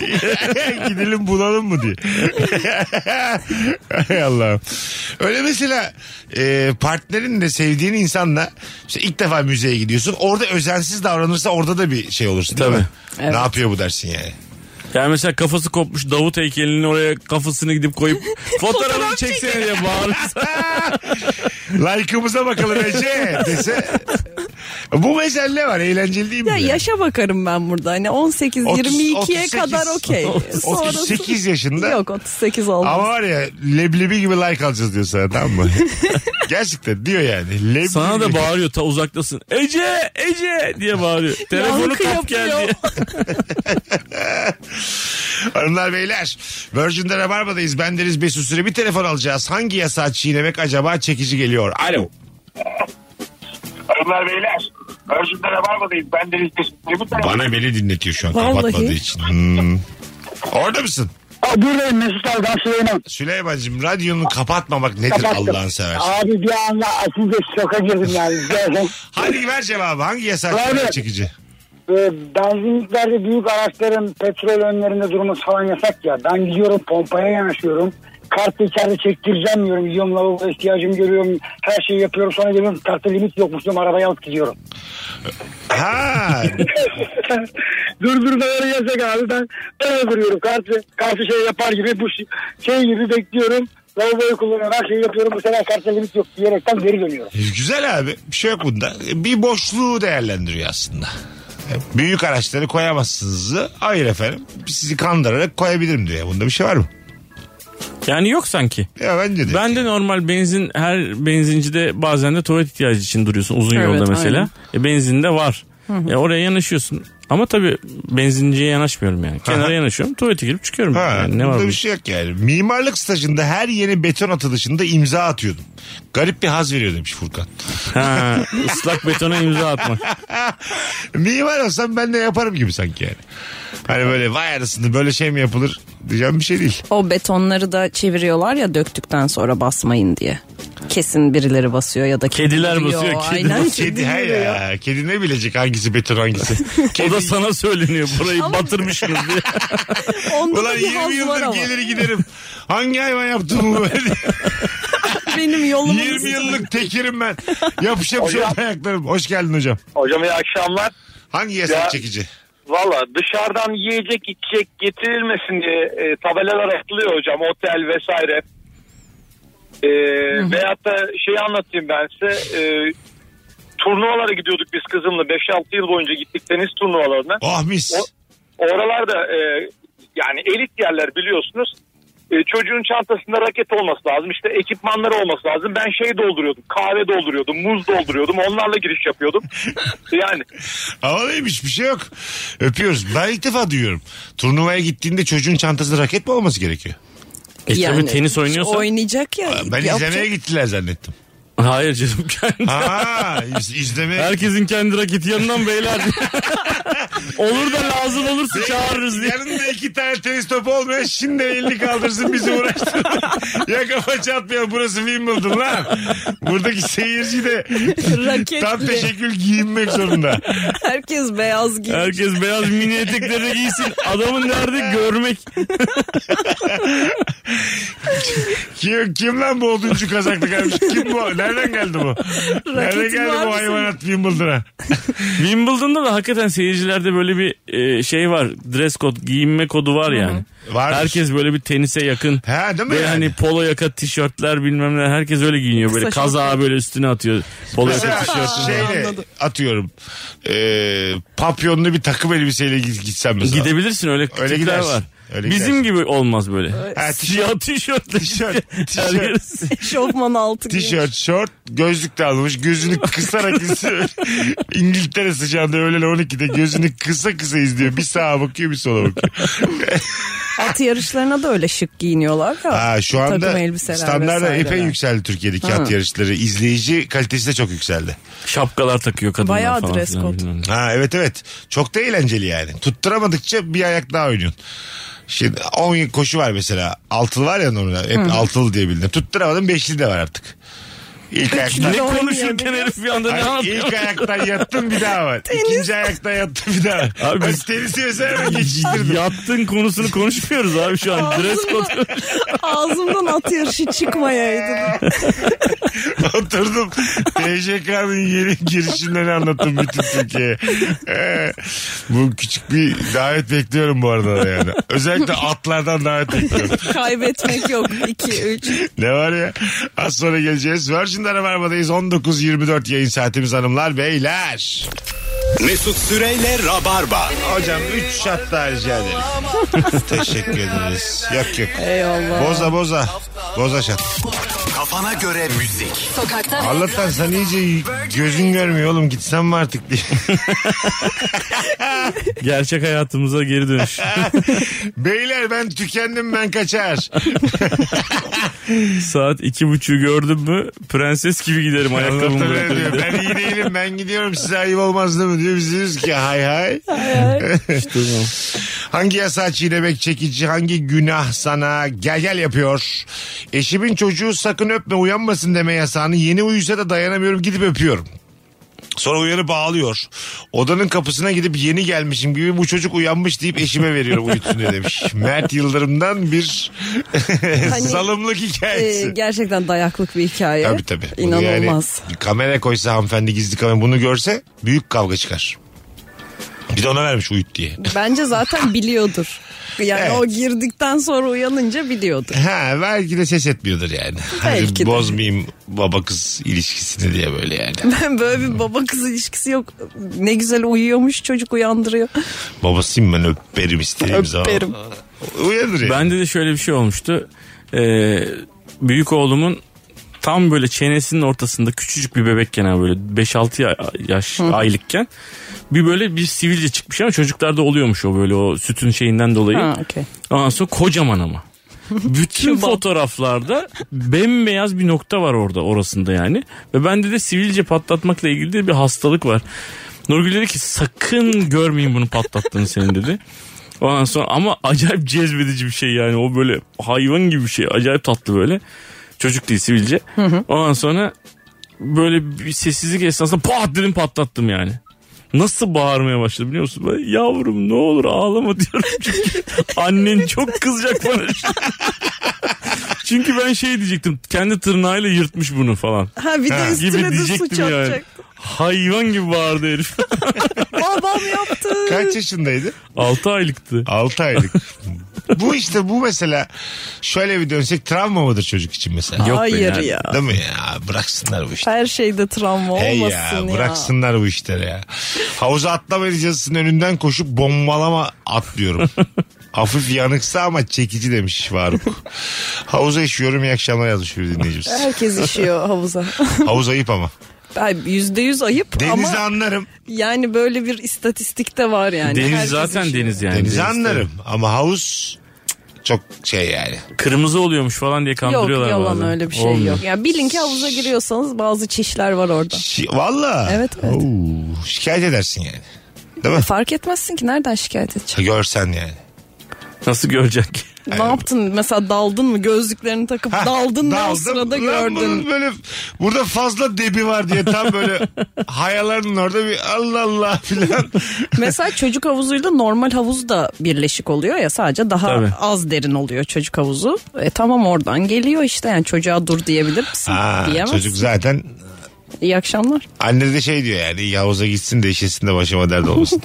S4: Gidelim bulalım mı diye. *laughs* Hay Allah'ım. Öyle mesela e, partnerin de sevdiğin insanla işte ilk defa müzeye gidiyorsun. Orada özensiz davranırsa orada da bir şey olursun. Tabii.
S6: Evet.
S4: Ne yapıyor bu dersin yani?
S5: Yani mesela kafası kopmuş Davut heykelinin oraya kafasını gidip koyup fotoğrafını çeksene diye bağırırsa.
S4: Like'ımıza bakalım Ece dese. Bu mesela ne var? Eğlenceli değil mi?
S6: Ya
S4: yani?
S6: yaşa bakarım ben burada. Hani 18
S4: Otuz-
S6: 22'ye
S4: 38.
S6: kadar
S4: *laughs*
S6: okey.
S4: 38 yaşında.
S6: Yok 38 olmaz.
S4: Ama var ya leblebi gibi like alacağız diyor sana tamam
S6: *laughs*
S4: mı? Gerçekten diyor yani. Leblebi
S5: *laughs* Sana da bağırıyor ta uzaktasın. Ece Ece diye bağırıyor. Telefonu
S6: Yankı
S5: kap geldi.
S6: yapıyor.
S4: Hanımlar beyler Virgin'de Rabarba'dayız. Ben Deniz Mesut Süre. Bir telefon alacağız. Hangi yasağı çiğnemek acaba çekici geliyor? Alo.
S13: Hanımlar beyler. Virgin'de Rabarba'dayız. Ben Deniz Mesut
S4: Bana beni dinletiyor şu an
S6: Vallahi.
S4: kapatmadığı için. Hmm. Orada mısın?
S13: Aa, buradayım Mesut abi ben Süleyman.
S4: Süleyman'cığım radyonu kapatmamak nedir
S13: Kapattım.
S4: Allah'ını seversen?
S13: Abi bir anda açınca şoka girdim yani.
S4: *laughs*
S13: Gerçekten.
S4: Hadi ver cevabı. Hangi yasak
S13: Abi.
S4: çiğnemek çekici?
S13: Ee, benzinliklerde büyük araçların petrol önlerinde durması falan yasak ya. Ben gidiyorum pompaya yanaşıyorum. Kartı içeride çektireceğim diyorum. Gidiyorum lavaboya ihtiyacımı görüyorum. Her şeyi yapıyorum. Sonra geliyorum kartta limit yokmuş diyorum. Arabayı alıp gidiyorum.
S4: Ha.
S13: Durdurmaları yasak abi. Ben öyle duruyorum. Kartı, kartı şey yapar gibi bu şi- şey gibi bekliyorum. Lavaboyu kullanıyorum. Her şeyi yapıyorum. Bu sefer kartta limit yok diyerekten geri dönüyorum.
S4: Güzel abi. Bir şey yok bunda. Bir boşluğu değerlendiriyor aslında. Büyük araçları koyamazsınız. Hayır efendim. Sizi kandırarak koyabilirim diyor. Bunda bir şey var mı?
S5: Yani yok sanki.
S4: Ya bence de.
S5: Ben de normal benzin her benzincide bazen de tuvalet ihtiyacı için duruyorsun uzun
S6: Evet,
S5: yolda mesela. E, benzinde var. E, oraya yanaşıyorsun. Ama tabii benzinciye yanaşmıyorum yani. Kenara yanaşıyorum. Tuvalete girip çıkıyorum.
S4: Ha,
S5: Yani ne
S4: bunda
S5: var bu?
S4: bir şey yok yani. Mimarlık stajında her yeni beton atılışında imza atıyordum. Garip bir haz veriyor demiş Furkan. *laughs*
S5: Ha, ıslak betona imza atmak.
S4: Mimar olsam ben de yaparım gibi sanki yani. Hani böyle vay arasında böyle şey mi yapılır diyeceğim bir şey değil.
S6: O betonları da çeviriyorlar ya döktükten sonra basmayın diye. Kesin birileri basıyor ya da
S5: Kediler
S6: kedi
S5: basıyor,
S6: yiyor.
S5: kedi
S6: Aynen
S4: Kedi he
S6: yiyor ya.
S4: ya. Kedi ne bilecek hangisi beton
S6: *laughs*
S4: hangisi.
S5: O
S4: Kedi,
S5: da sana söyleniyor. Burayı batırmışsınız diye.
S6: Onda
S4: Ulan
S6: da bir
S4: 20
S6: haz var
S4: yıldır
S6: ama.
S4: gelir giderim. Hangi hayvan yaptı bunu
S6: *laughs*
S4: böyle?
S6: Benim yolumun
S4: 20 yıllık tekirim ben. Yapış yapış
S13: Hocam.
S4: ayaklarım. Hoş geldin hesap
S13: Hocam iyi akşamlar.
S4: Hangi yasak
S13: Ya-
S4: çekici?
S13: Valla dışarıdan yiyecek içecek getirilmesin diye e, tabelalar atılıyor hocam otel vesaire. E, veyahut da şeyi anlatayım ben size. E, turnuvalara gidiyorduk biz kızımla 5-6 yıl boyunca gittik deniz turnuvalarına.
S4: Ah mis.
S13: O- Oralarda e, yani elit yerler biliyorsunuz. E, çocuğun çantasında raket olması lazım. İşte ekipmanları olması lazım. Ben şey dolduruyordum. Kahve dolduruyordum. Muz dolduruyordum. Onlarla giriş yapıyordum. yani
S4: Havalıymış bir şey yok. Öpüyoruz. Ben ilk defa duyuyorum. Turnuvaya gittiğinde çocuğun çantasında raket mi olması gerekiyor?
S5: E tabii tenis oynuyorsan.
S6: Oynayacak ya.
S4: Ben
S6: yapacak.
S4: izlemeye gittiler
S6: *laughs*
S4: zannettim.
S5: Hayır canım kendi.
S4: Ha, iz- izlemeye. *laughs*
S5: Herkesin kendi raketi yanından beyler. Olur da lazım olursa çağırırız diye.
S4: Yarın da iki tane tenis topu olmayan şimdi elini kaldırsın bizi uğraştır.
S6: *laughs*
S4: ya kafa çatmıyor burası Wimbledon lan. Buradaki seyirci de
S6: Raketli.
S4: tam teşekkül giyinmek zorunda.
S6: Herkes beyaz giyiyor.
S5: Herkes beyaz mini etekleri giysin. Adamın nerede görmek.
S4: Kim, kim lan bu oduncu kazaklı kardeş? Kim bu? Nereden geldi bu? Nereden
S6: Raketin
S4: geldi
S6: var
S4: bu
S6: mı
S4: hayvanat Wimbledon'a?
S5: Wimbledon'da da hakikaten seyircilerde böyle bir e, şey var. Dress code, giyinme kodu var yani.
S4: Varmış.
S5: Herkes böyle bir tenise yakın.
S4: Ha değil mi?
S5: Ve
S4: yani?
S5: hani polo yaka tişörtler bilmem ne herkes öyle giyiniyor. Böyle
S6: Kısa
S5: kazağı böyle üstüne atıyor. Polo yaka
S4: Mesela
S5: tişörtünü.
S4: şeyle atıyorum. E, papyonlu bir takım elbiseyle git- gitsen mesela.
S5: Gidebilirsin öyle,
S4: Öyle
S5: tipler
S4: gidersin.
S5: var.
S4: Öyle
S5: Bizim
S4: gidersin.
S5: gibi olmaz böyle.
S4: Ha,
S5: Siyah tişörtle. *laughs*
S4: Tişört, tişört,
S5: Herkes-
S6: Şofman altı giyiyor.
S4: tişört, şort, gözlük de almış. Gözünü kısarak izliyor. İngiltere sıcağında öğlen 12'de gözünü kısa kısa izliyor. Bir sağa bakıyor bir sola bakıyor.
S6: At yarışlarına da öyle şık giyiniyorlar ya.
S4: Ha, şu
S6: Takım
S4: anda
S6: elbiseler
S4: standartlar
S6: vesaireler.
S4: epey yükseldi Türkiye'deki
S6: Ha.
S4: at yarışları. İzleyici kalitesi de çok yükseldi.
S5: Şapkalar takıyor kadınlar
S6: Bayağı
S5: falan.
S6: dress
S5: filan
S6: code.
S5: bilmem ne.
S4: Ha evet evet. Çok da eğlenceli yani. Tutturamadıkça bir ayak daha oynuyorsun. Şimdi 10 koşu var mesela. Altılı var ya normalde. Hep altılı diye bildim. Tutturamadım beşli de var artık. İlk ayaktan,
S5: Ne konuşurken herif bir anda ne
S4: Ay,
S5: yapıyor?
S4: ilk ayaktan yattım bir daha var. İkinci ayaktan yattım bir daha var.
S5: Abi
S4: Abi
S5: biz-
S4: tenisi mesela ben geçiştirdim.
S5: Yattın konusunu konuşmuyoruz abi şu an. Dress code.
S6: Ağzımdan, ağzımdan at yarışı
S4: *laughs*
S6: çıkmayaydı.
S4: Oturdum. TJK'nın yeni girişimlerini anlattım bütün Türkiye'ye. Ee, bu küçük bir davet bekliyorum bu arada da yani. Özellikle atlardan davet bekliyorum.
S6: Kaybetmek yok. 2 3
S4: Ne var ya? Az sonra geleceğiz. Virgin'de Rabarba'dayız. 19.24 yayın saatimiz hanımlar beyler.
S3: Mesut Süreyle Rabarba.
S4: Hocam 3 şat daha rica ederim. Teşekkür ederiz. Yok yok.
S6: Eyvallah.
S4: Boza boza. Boza şat.
S3: Kafana göre müzik.
S4: Allah'tan sen iyice gözün görmüyor oğlum gitsem mi artık diye. *laughs*
S5: Gerçek hayatımıza geri dönüş.
S4: Beyler ben tükendim ben kaçar.
S5: Saat iki buçuğu gördüm mü prenses gibi giderim ayakkabımı
S4: Allah'tan öyle
S5: bırakırım.
S4: diyor.
S5: diye.
S4: Ben iyi değilim ben gidiyorum size ayıp olmaz değil mi diyor. Biz diyoruz ki hay hay. *laughs* hangi yasa çiğnemek çekici hangi günah sana gel gel yapıyor. Eşimin çocuğu sakın öpme uyanmasın deme yasağını yeni uyusa da dayanamıyorum gidip öpüyorum. Sonra uyanıp ağlıyor. Odanın kapısına gidip yeni gelmişim gibi bu çocuk uyanmış deyip eşime veriyorum uyutsun diye demiş. Mert Yıldırım'dan bir Hani *laughs* salımlık hikayesi.
S6: Ee, gerçekten dayaklık bir hikaye.
S4: Tabii tabii. Bunu
S6: İnanılmaz.
S4: yani bir kamera koysa hanımefendi gizli kamera bunu görse büyük kavga çıkar. Bir de ona vermiş uyut diye.
S6: Bence zaten biliyordur. Yani
S4: Evet.
S6: o girdikten sonra uyanınca biliyordur. *laughs*
S4: Ha belki de ses etmiyordur yani.
S6: Belki
S4: Hani
S6: de.
S4: bozmayayım baba kız ilişkisini diye böyle yani.
S6: Ben böyle bir baba kız ilişkisi yok. Ne güzel uyuyormuş çocuk uyandırıyor.
S4: Babasıyım ben öperim istediğim zaman.
S6: Öperim.
S4: Uyanır yani.
S5: Bende de şöyle bir şey olmuştu. Ee, büyük oğlumun tam böyle çenesinin ortasında küçücük bir bebekken abi böyle 5-6 ya- yaş aylıkken bir böyle bir sivilce çıkmış ama çocuklarda oluyormuş o böyle o sütün şeyinden dolayı.
S6: Ha, okey.
S5: Ondan sonra kocaman ama. Bütün fotoğraflarda bembeyaz bir nokta var orada orasında yani. Ve bende de sivilce patlatmakla ilgili de bir hastalık var. Nurgül dedi ki sakın görmeyin bunu patlattığını senin dedi. Ondan sonra ama acayip cezbedici bir şey yani o böyle hayvan gibi bir şey acayip tatlı böyle. Çocuk değil sivilce. Ondan sonra böyle bir sessizlik esnasında pat dedim patlattım yani. Nasıl bağırmaya başladı biliyor musun? Ben, yavrum ne olur ağlama *laughs* diyorum çünkü annen çok kızacak bana. şimdi. *laughs* çünkü ben şey diyecektim kendi tırnağıyla yırtmış bunu falan.
S6: Ha bir de
S5: Gibi
S6: üstüne de suç
S5: diyecektim yani.
S6: atacak.
S5: Hayvan gibi bağırdı herif. *laughs*
S6: Babam yaptı.
S4: Kaç yaşındaydı?
S5: 6 aylıktı.
S4: 6
S6: *laughs*
S4: aylık. bu işte bu mesela şöyle bir dönsek travma mıdır çocuk için mesela?
S5: Yok be
S6: Hayır
S5: yani.
S6: ya.
S4: Değil mi ya? Bıraksınlar bu işi.
S6: Her şeyde travma olmasın
S4: Hey
S6: ya.
S4: ya, bıraksınlar bu işleri ya. Havuza atlamayacağızın önünden koşup bombalama atlıyorum.
S6: *laughs*
S4: Hafif yanıksa ama çekici demiş Faruk. Havuza işiyorum iyi akşamlar yazmış bir dinleyicimiz.
S6: Herkes işiyor havuza. *laughs*
S4: Havuz ayıp ama.
S6: Ay, Yüzde yüz ayıp
S4: Denizi
S6: ama
S4: anlarım.
S6: yani böyle bir istatistikte var yani.
S5: deniz
S6: Herkes şey
S5: zaten
S6: işiyor.
S5: deniz yani.
S4: Denizi
S5: Deniz
S4: anlarım ama havuz çok şey yani.
S5: Kırmızı oluyormuş falan diye kandırıyorlar
S6: Yok yalan
S5: bazen.
S6: öyle bir şey
S5: Olmuyor.
S6: yok. Yani bilin ki havuza giriyorsanız bazı çişler var orada.
S4: Şi- Valla.
S6: Evet, evet.
S4: Oo, şikayet edersin yani. Değil mi?
S6: Fark etmezsin ki nereden şikayet edeceksin?
S4: Görsen yani.
S5: Nasıl görecek ki?
S6: Ne yaptın? Mesela daldın mı? Gözlüklerini takıp daldın mı? O
S4: daldım.
S6: sırada
S4: Lan
S6: gördün.
S4: bunun böyle burada fazla debi var diye tam
S6: *laughs*
S4: böyle hayaların orada bir Allah Allah filan.
S6: Mesela çocuk havuzuyla normal havuz da birleşik oluyor ya sadece daha
S4: Tabii.
S6: az derin oluyor çocuk havuzu. E, tamam oradan geliyor işte yani çocuğa dur diyebilir misin?
S4: Ha,
S6: Diyemezsin.
S4: çocuk zaten *laughs*
S6: İyi akşamlar.
S4: anne de şey diyor yani Yavuz'a gitsin de işesin de başıma dert
S6: *laughs*
S4: olmasın.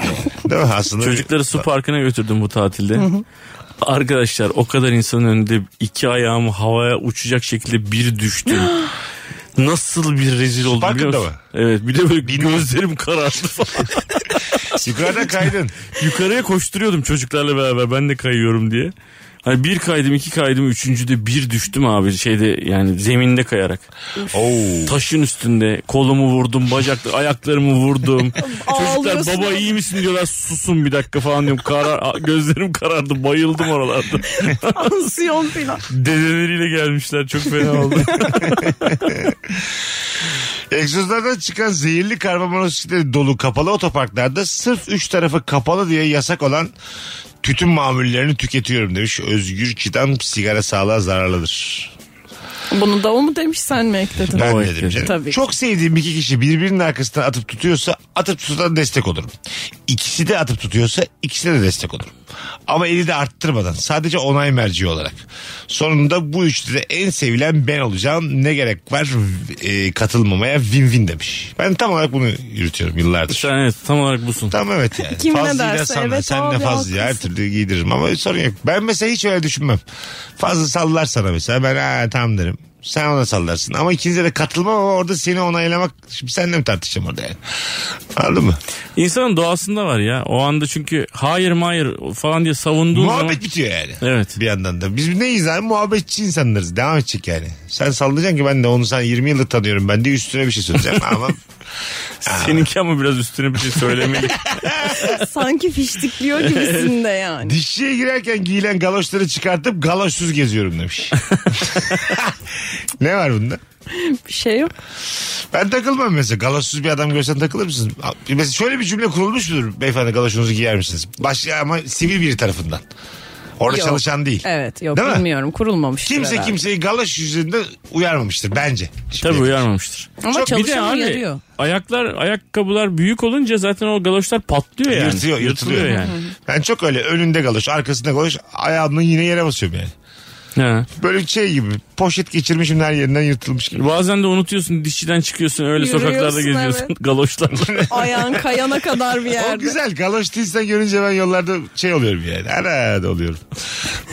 S4: Değil mi? Aslında
S5: Çocukları su parkına götürdüm bu tatilde. Arkadaşlar o kadar insanın önünde iki ayağım havaya uçacak şekilde bir düştüm. Nasıl bir rezil oldum biliyor
S4: parkında
S5: musun? Evet bir de böyle gözlerim karardı falan.
S4: Yukarıda kaydın.
S5: Yukarıya koşturuyordum çocuklarla beraber ben de kayıyorum diye. Hani bir kaydım iki kaydım üçüncüde bir düştüm abi şeyde yani zeminde kayarak. Taşın üstünde kolumu vurdum bacak
S4: *laughs*
S5: ayaklarımı vurdum. Çocuklar
S6: Ağlıyorsun.
S5: baba iyi misin diyorlar susun bir dakika falan diyorum. Karar, gözlerim karardı
S4: *laughs*
S5: bayıldım oralarda.
S6: Ansiyon falan.
S5: Dedeleriyle gelmişler çok fena
S4: *laughs*
S5: oldu.
S4: Egzozlardan çıkan zehirli karbonmonoksit dolu kapalı otoparklarda sırf üç tarafı kapalı diye yasak olan tütün mamullerini tüketiyorum demiş. Özgür Çiğdem sigara sağlığa zararlıdır.
S6: Bunu da o mu demiş sen mi ekledin?
S4: Ben dedim canım.
S6: Tabii.
S4: Çok sevdiğim iki kişi birbirinin arkasından atıp tutuyorsa atıp tutan destek olurum. İkisi de atıp tutuyorsa ikisine de destek olurum. Ama eli de arttırmadan sadece onay merci olarak. Sonunda bu üçlü de en sevilen ben olacağım. Ne gerek var e, katılmamaya win win demiş. Ben tam olarak bunu yürütüyorum yıllardır.
S5: Sen evet tam olarak busun.
S4: Tam evet yani.
S6: Kim ne
S4: Fazlıyla
S6: derse,
S4: sana,
S6: evet
S4: sen
S6: abi,
S4: de fazla her
S6: haklısın.
S4: türlü giydiririm ama sorun yok. Ben mesela hiç öyle düşünmem. Fazla sallar sana mesela ben ha tamam derim. Sen ona sallarsın ama ikinize de katılmam ama orada seni onaylamak şimdi seninle mi tartışacağım orada yani. Anladın mı?
S5: İnsanın doğasında var ya o anda çünkü hayır hayır falan diye savunduğun
S4: Muhabbet
S5: zaman-
S4: bitiyor yani.
S5: Evet.
S4: Bir yandan da. Biz neyiz abi? Muhabbetçi insanlarız. Devam edecek yani. Sen sallayacaksın ki ben de onu sen 20 yıldır tanıyorum. Ben de üstüne bir şey söyleyeceğim ama
S5: Seninki ama biraz üstüne bir şey söylemeli.
S4: *laughs*
S6: Sanki fiştikliyor gibisin
S4: *laughs*
S6: de yani.
S4: Dişçiye girerken giyilen galoşları çıkartıp galoşsuz geziyorum demiş. ne var bunda?
S6: Bir şey yok.
S4: Ben takılmam mesela. Galoşsuz bir adam görsen takılır mısın? Mesela şöyle bir cümle kurulmuş mudur? Beyefendi galoşunuzu giyer misiniz? Başka ama sivil biri tarafından. Orada
S6: Yok.
S4: çalışan değil.
S6: Evet yok
S4: Değil mi?
S6: bilmiyorum kurulmamış.
S4: Kimse kimseyi galoş yüzünde uyarmamıştır bence.
S5: Tabii uyarmamıştır.
S6: Ama
S5: Çok- bir de
S6: çalışan
S5: abi,
S6: uyarıyor.
S5: Ayaklar, ayakkabılar büyük olunca zaten o galoşlar patlıyor yani.
S4: Yırtıyor, yırtılıyor.
S5: yani.
S4: Ben çok öyle önünde galoş, arkasında galoş, ayağımla yine yere basıyorum yani.
S5: Ha.
S4: Böyle şey gibi poşet geçirmişim her yerinden yırtılmış gibi.
S5: Hani Bazen de unutuyorsun dişçiden çıkıyorsun öyle
S6: Yürüyorsun,
S5: sokaklarda geziyorsun
S6: evet. *laughs*
S5: *laughs* galoşlarla.
S4: *laughs*
S6: Ayağın kayana kadar bir
S4: O
S6: yerde.
S4: güzel galoş değilsen görünce ben yollarda şey oluyorum yani. Ana da
S6: *laughs*
S4: oluyorum.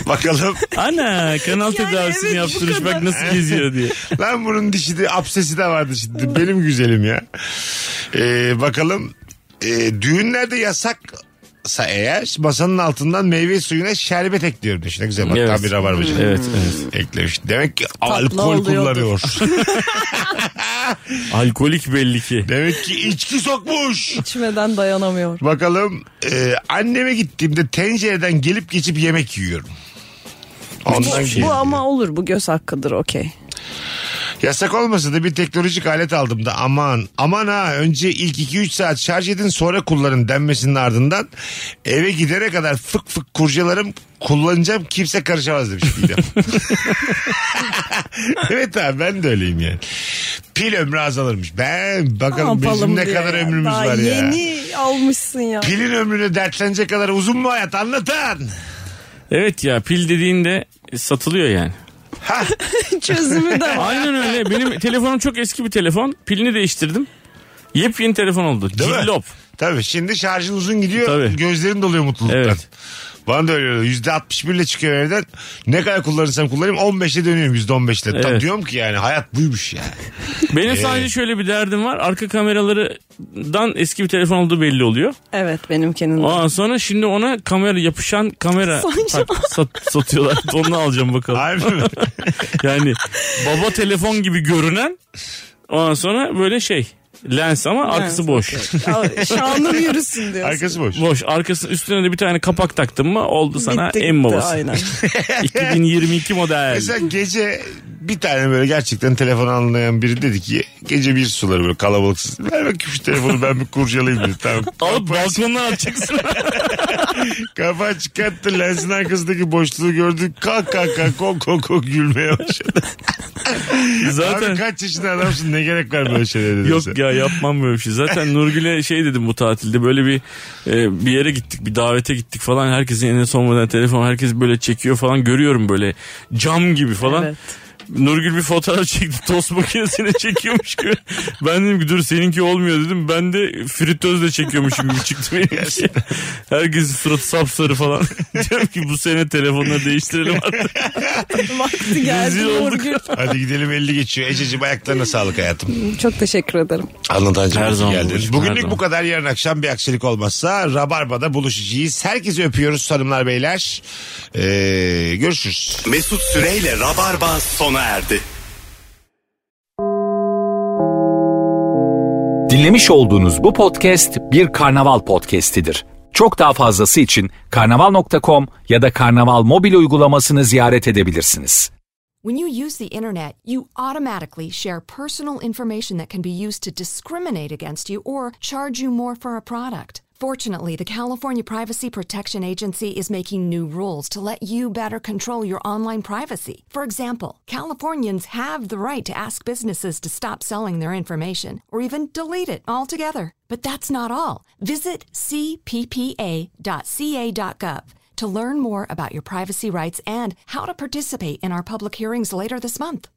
S4: Bakalım
S5: Ana kanal tedavisini
S6: evet, bu
S5: yaptırmış
S6: kadar.
S5: bak nasıl geziyor diye.
S4: Lan bunun dişi de absesi de vardı şimdi. Benim güzelim ya. Ee, bakalım Ee, düğünlerde yasaksa eğer masanın altından meyve suyuna şerbet ekliyorum demiş. Ne güzel bak
S5: Evet.
S4: tam bir rabarbacı.
S5: Evet, evet.
S4: Eklemiş. Demek ki alkol
S6: oluyordur.
S4: kullanıyor. *laughs*
S5: Alkolik belli ki.
S4: Demek ki içki sokmuş.
S6: İçmeden dayanamıyor.
S4: Bakalım e, anneme gittiğimde tencereden gelip geçip yemek yiyorum. Ondan
S6: Bu, bu ama olur bu göz hakkıdır okey.
S4: Yasak olmasa da bir teknolojik alet aldım da aman aman ha önce ilk 2-3 saat şarj edin sonra kullanın denmesinin ardından eve gidene kadar fık fık kurcalarım kullanacağım kimse karışamaz demiş
S6: *laughs*
S4: Didem. *laughs* evet abi ben de öyleyim yani. Pil ömrü azalırmış. Ben bakalım
S6: Ne
S4: bizim
S6: yapalım
S4: ne
S6: diyor
S4: kadar
S6: ya.
S4: ömrümüz
S6: Daha
S4: var ya.
S6: Yeni almışsın ya.
S4: Pilin ömrüne dertlenecek kadar uzun mu hayat anlatan?
S5: Evet ya pil dediğinde satılıyor yani.
S4: *laughs*
S6: Çözümü de var.
S5: Aynen öyle benim telefonum çok eski bir telefon pilini değiştirdim. Yepyeni telefon oldu.
S4: Değil mi?
S5: Cillop.
S4: Tabii şimdi şarjın uzun gidiyor.
S5: Tabii.
S4: Gözlerin doluyor mutluluktan.
S5: Evet.
S4: Bana da öyle oluyor. %61 ile çıkıyor evden. Ne kadar kullanırsam kullanayım 15'e dönüyorum %15 ile. Tam
S5: Evet.
S4: diyorum ki yani hayat buymuş yani. Ee?
S5: Benim sadece şöyle bir derdim var. Arka kameralarından eski bir telefon olduğu belli oluyor.
S6: Evet benimkinin. de.
S5: Ondan sonra şimdi ona kamera yapışan kamera
S6: Sanki-
S5: tak- *laughs* sat- satıyorlar. *laughs* Onu alacağım bakalım.
S4: Harbi
S5: *laughs*
S4: mi?
S5: Yani baba telefon gibi görünen ondan sonra böyle şey lens ama arkası boş.
S6: Ya, Şanım yürüsün diyorsun.
S4: Arkası boş.
S5: *laughs* boş. Arkası üstüne de bir tane kapak taktın mı oldu sana
S6: Bitti
S5: en
S6: gitti,
S5: babası.
S6: Aynen.
S5: 2022 model.
S4: Mesela gece bir tane böyle gerçekten telefon anlayan biri dedi ki gece bir suları böyle kalabalıksız. Ver bakayım şu telefonu ben bir kurcalayayım dedi.
S5: *laughs*
S4: Tamam.
S5: Alıp balkondan atacaksın.
S4: Kafa çıkarttı lensin arkasındaki boşluğu gördü. Kalk kalk kalk kok kok kok gülmeye başladı.
S5: Zaten-
S4: *laughs* Abi kaç yaşında adamsın ne gerek var böyle şeylere dedim
S5: Yok
S4: sana.
S5: ya yapmam böyle bir şey. Zaten Nurgül'e şey dedim bu tatilde böyle bir e, bir yere gittik bir davete gittik falan. Herkesin en son model telefon herkes böyle çekiyor falan görüyorum böyle cam gibi falan.
S6: *laughs*
S5: Nurgül bir fotoğraf çekti tost makinesine *laughs* çekiyormuş gibi. Ben dedim ki dur seninki olmuyor dedim. Ben de fritözle çekiyormuşum gibi çıktı benimki. Herkesin suratı sapsarı falan. Diyorum ki bu sene telefonları değiştirelim artık.
S14: Vakti geldi
S4: Rezil olduk.
S14: Nurgül.
S4: *laughs* Hadi gidelim 50 geçiyor. Ececiğim ayaklarına sağlık hayatım.
S14: Çok teşekkür ederim.
S4: Anlatancım
S5: Her
S4: hoş
S5: zaman
S4: geldin.
S5: babacığım, her
S4: Bugünlük
S5: zaman.
S4: bu kadar. Yarın akşam bir aksilik olmazsa Rabarba'da buluşacağız. Herkesi öpüyoruz hanımlar beyler. Ee, görüşürüz.
S3: Mesut Süreyle Rabarba sona erdi.
S2: Dinlemiş olduğunuz bu podcast bir karnaval podcastidir. Çok daha fazlası için karnaval.com ya da karnaval mobil uygulamasını ziyaret edebilirsiniz.
S6: When you use the internet, you automatically share personal information that can be used to discriminate against you or charge you more for a product. Fortunately, the California Privacy Protection Agency is making new rules to let you better control your online privacy. For example, Californians have the right to ask businesses to stop selling their information or even delete it altogether. But that's not all. Visit cppa.ca.gov to learn more about your privacy rights and how to participate in our public hearings later this month.